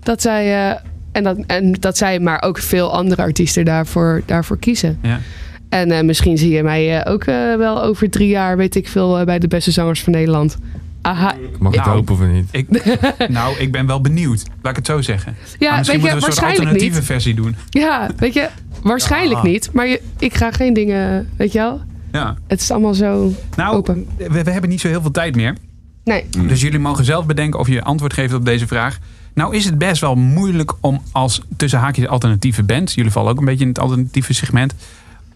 [SPEAKER 4] Dat zij. eh, en, dat, en dat zij, maar ook veel andere artiesten daarvoor, daarvoor kiezen.
[SPEAKER 2] Ja.
[SPEAKER 4] En eh, misschien zie je mij eh, ook eh, wel over drie jaar, weet ik veel, eh, bij de beste zangers van Nederland. aha.
[SPEAKER 5] Mag ik het
[SPEAKER 2] Nou.
[SPEAKER 5] hopen of niet?
[SPEAKER 2] Ik, [laughs] nou, ik ben wel benieuwd. Laat ik het zo zeggen.
[SPEAKER 4] Ja,
[SPEAKER 2] Maar misschien
[SPEAKER 4] weet
[SPEAKER 2] moeten
[SPEAKER 4] je,
[SPEAKER 2] we een soort
[SPEAKER 4] waarschijnlijk
[SPEAKER 2] alternatieve
[SPEAKER 4] niet.
[SPEAKER 2] versie doen.
[SPEAKER 4] Ja, weet je, waarschijnlijk
[SPEAKER 7] Ja.
[SPEAKER 4] niet. Maar je, ik ga geen dingen, weet je wel?
[SPEAKER 2] Ja.
[SPEAKER 4] Het is allemaal zo
[SPEAKER 2] Nou,
[SPEAKER 4] open.
[SPEAKER 2] we, we hebben niet zo heel veel tijd meer.
[SPEAKER 4] Nee,
[SPEAKER 2] Dus jullie mogen zelf bedenken of je antwoord geeft op deze vraag. Nou is het best wel moeilijk om als tussen haakjes alternatieve band... jullie vallen ook een beetje in het alternatieve segment...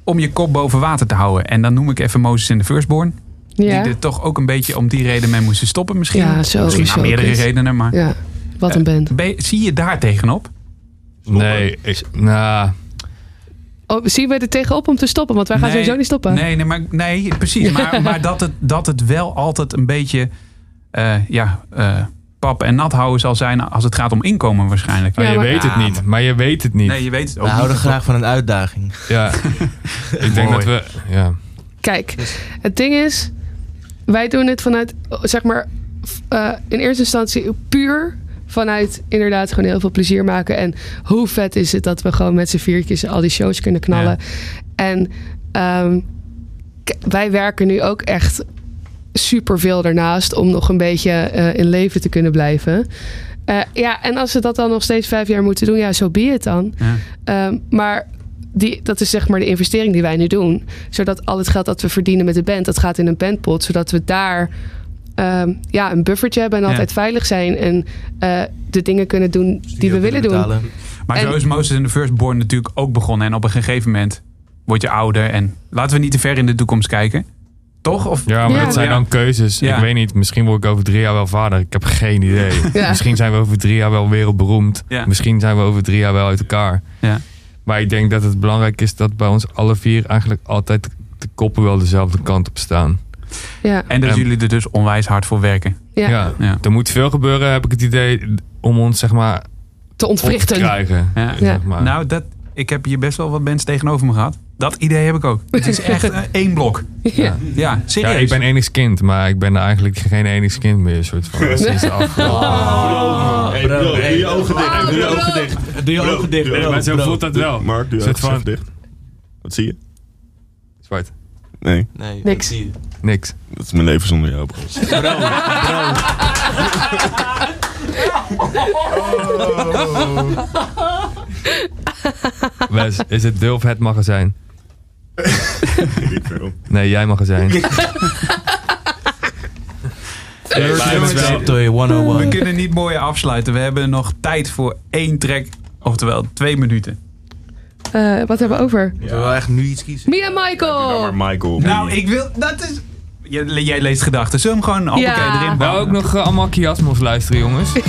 [SPEAKER 2] om je kop boven water te houden. En dan noem ik even Moses in de Firstborn.
[SPEAKER 4] ja.
[SPEAKER 2] Die er toch ook een beetje om die reden mee moesten stoppen misschien.
[SPEAKER 4] Ja, zo
[SPEAKER 2] misschien
[SPEAKER 4] is
[SPEAKER 2] aan
[SPEAKER 4] ook
[SPEAKER 2] meerdere
[SPEAKER 4] iets.
[SPEAKER 2] redenen, maar...
[SPEAKER 4] Ja, wat een band.
[SPEAKER 2] Ben je- zie je daar tegenop?
[SPEAKER 5] Nee, ik, nou,
[SPEAKER 4] Oh, zien we er tegenop om te stoppen? Want wij gaan
[SPEAKER 2] Nee,
[SPEAKER 4] sowieso niet stoppen.
[SPEAKER 2] Nee, nee, maar, nee precies. Maar, maar dat, het, dat het wel altijd een beetje eh, ja, eh, pap en nat houden zal zijn als het gaat om inkomen waarschijnlijk.
[SPEAKER 5] maar
[SPEAKER 4] Ja,
[SPEAKER 5] je
[SPEAKER 4] maar-
[SPEAKER 5] weet het
[SPEAKER 2] Ja,
[SPEAKER 5] niet.
[SPEAKER 2] maar-
[SPEAKER 5] Maar je weet het niet.
[SPEAKER 2] Nee, je weet het ook
[SPEAKER 7] We
[SPEAKER 5] Nou,
[SPEAKER 7] houden
[SPEAKER 2] niet.
[SPEAKER 7] graag van een
[SPEAKER 2] [laughs]
[SPEAKER 7] uitdaging.
[SPEAKER 5] Ja. ik denk
[SPEAKER 2] Mooi.
[SPEAKER 5] dat we... Ja.
[SPEAKER 4] Kijk, het ding is, wij doen het vanuit, zeg maar, f- eh, in eerste instantie puur vanuit inderdaad gewoon heel veel plezier maken. En hoe vet is het dat we gewoon met z'n viertjes al die shows kunnen knallen. En ehm, k- wij werken nu ook echt superveel daarnaast om nog een beetje eh, in leven te kunnen blijven. Eh, ja, en als we dat dan nog steeds vijf jaar moeten doen, ja, zo be het dan.
[SPEAKER 2] Ja.
[SPEAKER 4] Ehm, maar die, dat is zeg maar de investering die wij nu doen. Zodat al het geld dat we verdienen met de band, dat gaat in een bandpot. Zodat we daar ehm, ja, een buffertje hebben en
[SPEAKER 2] Ja.
[SPEAKER 4] altijd veilig zijn. En eh, de dingen kunnen doen
[SPEAKER 7] Dus
[SPEAKER 4] die we willen doen.
[SPEAKER 2] Maar
[SPEAKER 4] En-
[SPEAKER 2] zo is Moses in de Firstborn natuurlijk ook begonnen. En op een gegeven moment word je ouder. En laten we niet te ver in de toekomst kijken. Toch? Of,
[SPEAKER 5] Ja, maar
[SPEAKER 4] Ja.
[SPEAKER 5] dat zijn dan keuzes.
[SPEAKER 2] Ja.
[SPEAKER 5] Ik weet niet, misschien word ik over drie jaar wel vader. Ik heb geen
[SPEAKER 2] [laughs]
[SPEAKER 5] idee.
[SPEAKER 4] Ja.
[SPEAKER 5] Misschien zijn we over drie jaar wel wereldberoemd.
[SPEAKER 2] Ja.
[SPEAKER 5] Misschien zijn we over drie jaar wel uit elkaar.
[SPEAKER 2] Ja.
[SPEAKER 5] Maar ik denk dat het belangrijk is dat bij ons alle vier eigenlijk altijd de koppen wel dezelfde kant op staan.
[SPEAKER 4] Ja,
[SPEAKER 2] En dat
[SPEAKER 5] En-
[SPEAKER 2] jullie er dus onwijs hard voor werken.
[SPEAKER 4] ja,
[SPEAKER 5] Ja.
[SPEAKER 2] Ja.
[SPEAKER 5] Er moet veel gebeuren, heb ik het idee, om ons zeg maar
[SPEAKER 4] te
[SPEAKER 5] op te
[SPEAKER 4] ontwrichten.
[SPEAKER 5] krijgen.
[SPEAKER 2] Ja.
[SPEAKER 5] Zeg maar.
[SPEAKER 2] Nou, dat, ik heb hier best wel wat bands tegenover me gehad. Dat idee heb ik ook. Het is echt eh, één blok.
[SPEAKER 4] [laughs] Ja.
[SPEAKER 2] Ja, serieus.
[SPEAKER 5] ja, ik ben enigskind, kind, maar ik ben eigenlijk geen enigskind kind meer.
[SPEAKER 2] [laughs]
[SPEAKER 5] Soort van. Sinds de afgelopen.
[SPEAKER 6] Hey, bro, doe je ogen dicht. Doe je ogen dicht.
[SPEAKER 2] Doe je
[SPEAKER 6] Bro,
[SPEAKER 2] ogen dicht.
[SPEAKER 6] doe
[SPEAKER 2] bro.
[SPEAKER 6] je ogen
[SPEAKER 5] maar zo
[SPEAKER 6] bro.
[SPEAKER 5] voelt dat
[SPEAKER 6] Doe-
[SPEAKER 5] wel.
[SPEAKER 6] Mark, doe je
[SPEAKER 5] Soort
[SPEAKER 6] ogen
[SPEAKER 5] van-
[SPEAKER 6] even dicht. Wat zie je?
[SPEAKER 5] Zwart.
[SPEAKER 6] Nee,
[SPEAKER 7] Nee,
[SPEAKER 4] Niks. zie
[SPEAKER 2] [laughs]
[SPEAKER 5] Niks.
[SPEAKER 6] dat is mijn leven zonder jou, bro.
[SPEAKER 5] Wes, is het Dulf het magazijn? Nee, jij magazijn.
[SPEAKER 2] jongens,
[SPEAKER 7] Toy eh, 101.
[SPEAKER 2] We kunnen niet mooier afsluiten. We hebben nog tijd voor één track. Oftewel twee minuten.
[SPEAKER 4] Eh, wat hebben we over?
[SPEAKER 7] Moeten we wel echt nu iets kiezen?
[SPEAKER 4] Mia Michael!
[SPEAKER 6] Maar Michael.
[SPEAKER 2] Nou, ik wil... Dat is... Jij, jij leest gedachten. Zullen we hem gewoon hoppakee,
[SPEAKER 4] Ja.
[SPEAKER 2] erin
[SPEAKER 5] Wou
[SPEAKER 2] bouwen?
[SPEAKER 5] ook nog eh, allemaal Kiasmos luisteren,
[SPEAKER 2] [laughs]
[SPEAKER 5] jongens. Die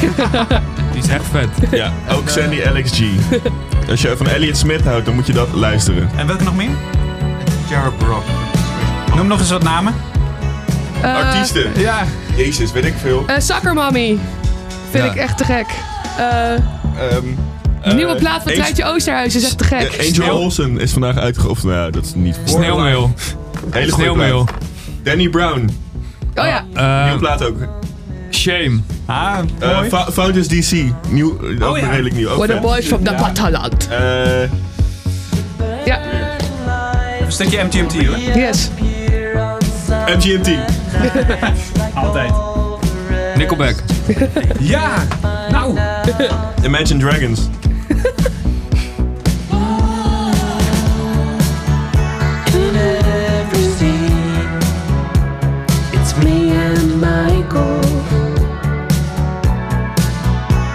[SPEAKER 5] is echt vet.
[SPEAKER 6] Ja, ook Sandy Alex G. [laughs] Als je van Elliot Smith houdt, dan moet je dat luisteren.
[SPEAKER 2] En welke nog meer?
[SPEAKER 7] Jared Brock.
[SPEAKER 2] Noem nog eens wat namen.
[SPEAKER 4] Eh,
[SPEAKER 6] Artiesten.
[SPEAKER 2] Ja.
[SPEAKER 6] Jezus, weet ik veel.
[SPEAKER 4] eh, Soccer Mommy. Vind
[SPEAKER 5] Ja.
[SPEAKER 4] ik echt te gek. Eh,
[SPEAKER 6] Ehm, eh,
[SPEAKER 4] nieuwe plaat van
[SPEAKER 6] Angel-
[SPEAKER 4] Truitje Oosterhuis is echt te
[SPEAKER 6] eh,
[SPEAKER 4] gek.
[SPEAKER 6] Angel Olsen is vandaag uitgeoefend. Nou, ja, dat is niet voor.
[SPEAKER 5] Sneeuwmeel.
[SPEAKER 6] Hele goede
[SPEAKER 5] Sneeuwmeel.
[SPEAKER 6] plaat. Danny Brown.
[SPEAKER 4] Oh ja,
[SPEAKER 5] Eh,
[SPEAKER 6] Nieuwe plaat ook.
[SPEAKER 5] shame.
[SPEAKER 2] Ah,
[SPEAKER 6] Eh,
[SPEAKER 2] mooi.
[SPEAKER 6] Fa- Founders DC. Nieuw, eh, ook
[SPEAKER 2] ja.
[SPEAKER 6] redelijk nieuw. Ook
[SPEAKER 4] We're the
[SPEAKER 6] vet.
[SPEAKER 4] boys from the Bataland.
[SPEAKER 6] Eh,
[SPEAKER 4] Ja,
[SPEAKER 2] een stukje MGMT hoor.
[SPEAKER 4] yes.
[SPEAKER 6] MGMT.
[SPEAKER 2] Altijd.
[SPEAKER 5] Nickelback.
[SPEAKER 2] Ja! Nou!
[SPEAKER 6] Imagine Dragons.
[SPEAKER 9] It's me and Michael.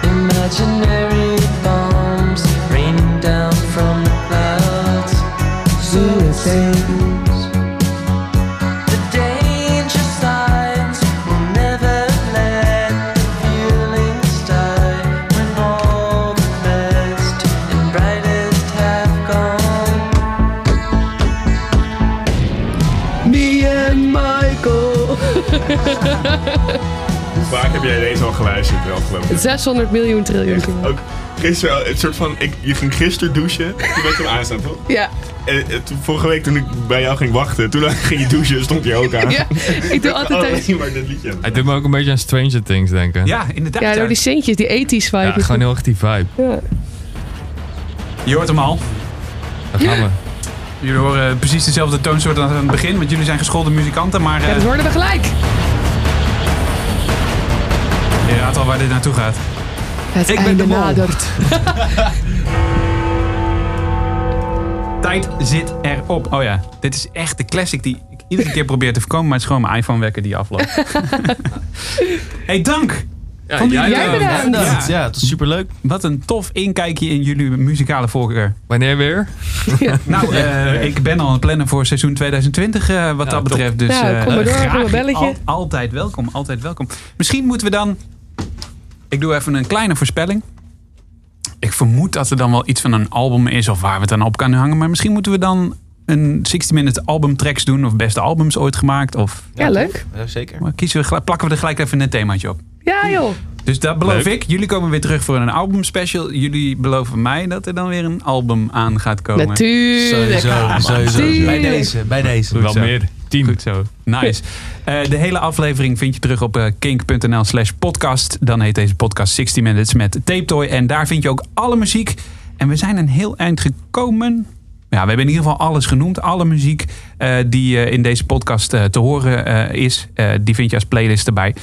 [SPEAKER 9] Imaginary bombs raining down from the clouds. Suicides. The danger signs will never let the feelings die. When all the best and brightest have gone.
[SPEAKER 4] Me and Michael.
[SPEAKER 6] Vaak heb jij deze al geluisterd de afgelopen
[SPEAKER 4] 600 miljoen triljoen. keer.
[SPEAKER 6] Ook gisteren, het soort van, ik, je ging gisteren douchen. Toen ben ik hem aanstaan, toch?
[SPEAKER 4] Ja.
[SPEAKER 6] En, eh, toen- vorige week toen ik bij jou ging wachten, toen [laughs] ging je douchen, stond je ook
[SPEAKER 5] [laughs]
[SPEAKER 6] aan.
[SPEAKER 4] ja, ik doe altijd...
[SPEAKER 6] Oh, [laughs]
[SPEAKER 4] tijdens-
[SPEAKER 6] zie maar dit liedje.
[SPEAKER 5] Hij doet me ook een beetje aan Stranger Things denken.
[SPEAKER 2] Ja, inderdaad.
[SPEAKER 4] Ja, door die centjes, die ethisch vibe.
[SPEAKER 5] Ja,
[SPEAKER 4] is
[SPEAKER 5] gewoon heel erg die vibe.
[SPEAKER 2] Je hoort hem al.
[SPEAKER 5] Daar gaan we.
[SPEAKER 2] Jullie horen eh, precies dezelfde toonsoort als aan het begin, want jullie zijn geschoolde muzikanten, maar... eh,
[SPEAKER 4] Ja, dat hoorden we gelijk.
[SPEAKER 2] Je raadt al waar dit naartoe gaat.
[SPEAKER 4] Het
[SPEAKER 5] Ik ben
[SPEAKER 4] einde
[SPEAKER 5] de mol.
[SPEAKER 4] nadert.
[SPEAKER 2] Tijd zit erop. Oh ja, dit is echt de classic die ik iedere keer probeer te voorkomen, maar het is gewoon mijn iPhone wekker die [laughs] afloopt. hey, dank!
[SPEAKER 5] Ja,
[SPEAKER 2] Vond jij
[SPEAKER 4] Jij
[SPEAKER 5] wel.
[SPEAKER 4] bedankt.
[SPEAKER 7] Ja, ja het was superleuk.
[SPEAKER 2] Wat een tof inkijkje in jullie muzikale voorkeur.
[SPEAKER 5] Wanneer weer?
[SPEAKER 2] Nou, eh, ik ben al aan het plannen voor seizoen 2020 eh, wat dat
[SPEAKER 5] top.
[SPEAKER 2] betreft. Dus,
[SPEAKER 4] Nou,
[SPEAKER 2] eh,
[SPEAKER 4] kom maar door,
[SPEAKER 2] graag.
[SPEAKER 4] doe maar belletje.
[SPEAKER 2] Al- altijd welkom, altijd welkom. Misschien moeten we dan... Ik doe even een kleine voorspelling. Ik vermoed dat er dan wel iets van een album is of waar we het dan op kunnen hangen. Maar misschien moeten we dan een 60-minute album tracks doen of beste albums ooit gemaakt. Of
[SPEAKER 4] Ja, leuk.
[SPEAKER 7] Ja, zeker.
[SPEAKER 2] maar kiezen we, gelijk- plakken we er gelijk even een themaatje op.
[SPEAKER 4] Ja,
[SPEAKER 5] Oh,
[SPEAKER 4] joh.
[SPEAKER 2] Dus dat beloof
[SPEAKER 5] Leuk.
[SPEAKER 2] ik. Jullie komen weer terug voor een album special. Jullie beloven mij dat er dan weer een album aan gaat komen.
[SPEAKER 4] Natuurlijk.
[SPEAKER 7] Sowieso, sowieso. Bij
[SPEAKER 4] Ah, Tuurlijk.
[SPEAKER 7] deze, bij deze.
[SPEAKER 5] Wel
[SPEAKER 2] zo.
[SPEAKER 5] meer. Tien.
[SPEAKER 2] Goed zo. [laughs] Nice. Eh, de hele aflevering vind je terug op eh, kink.nl slash podcast. Dan heet deze podcast 60 Minutes met Tape Toy. En daar vind je ook alle muziek. En we zijn een heel eind gekomen. Ja, we hebben in ieder geval alles genoemd. Alle muziek eh, die eh, in deze podcast eh, te horen eh, is. eh, die vind je als playlist erbij.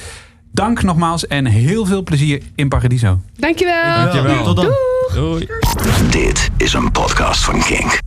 [SPEAKER 2] Dank nogmaals en heel veel plezier in Paradiso.
[SPEAKER 4] Dankjewel.
[SPEAKER 7] Dankjewel. Tot dan.
[SPEAKER 5] Doei.
[SPEAKER 1] Dit is een podcast van Kink.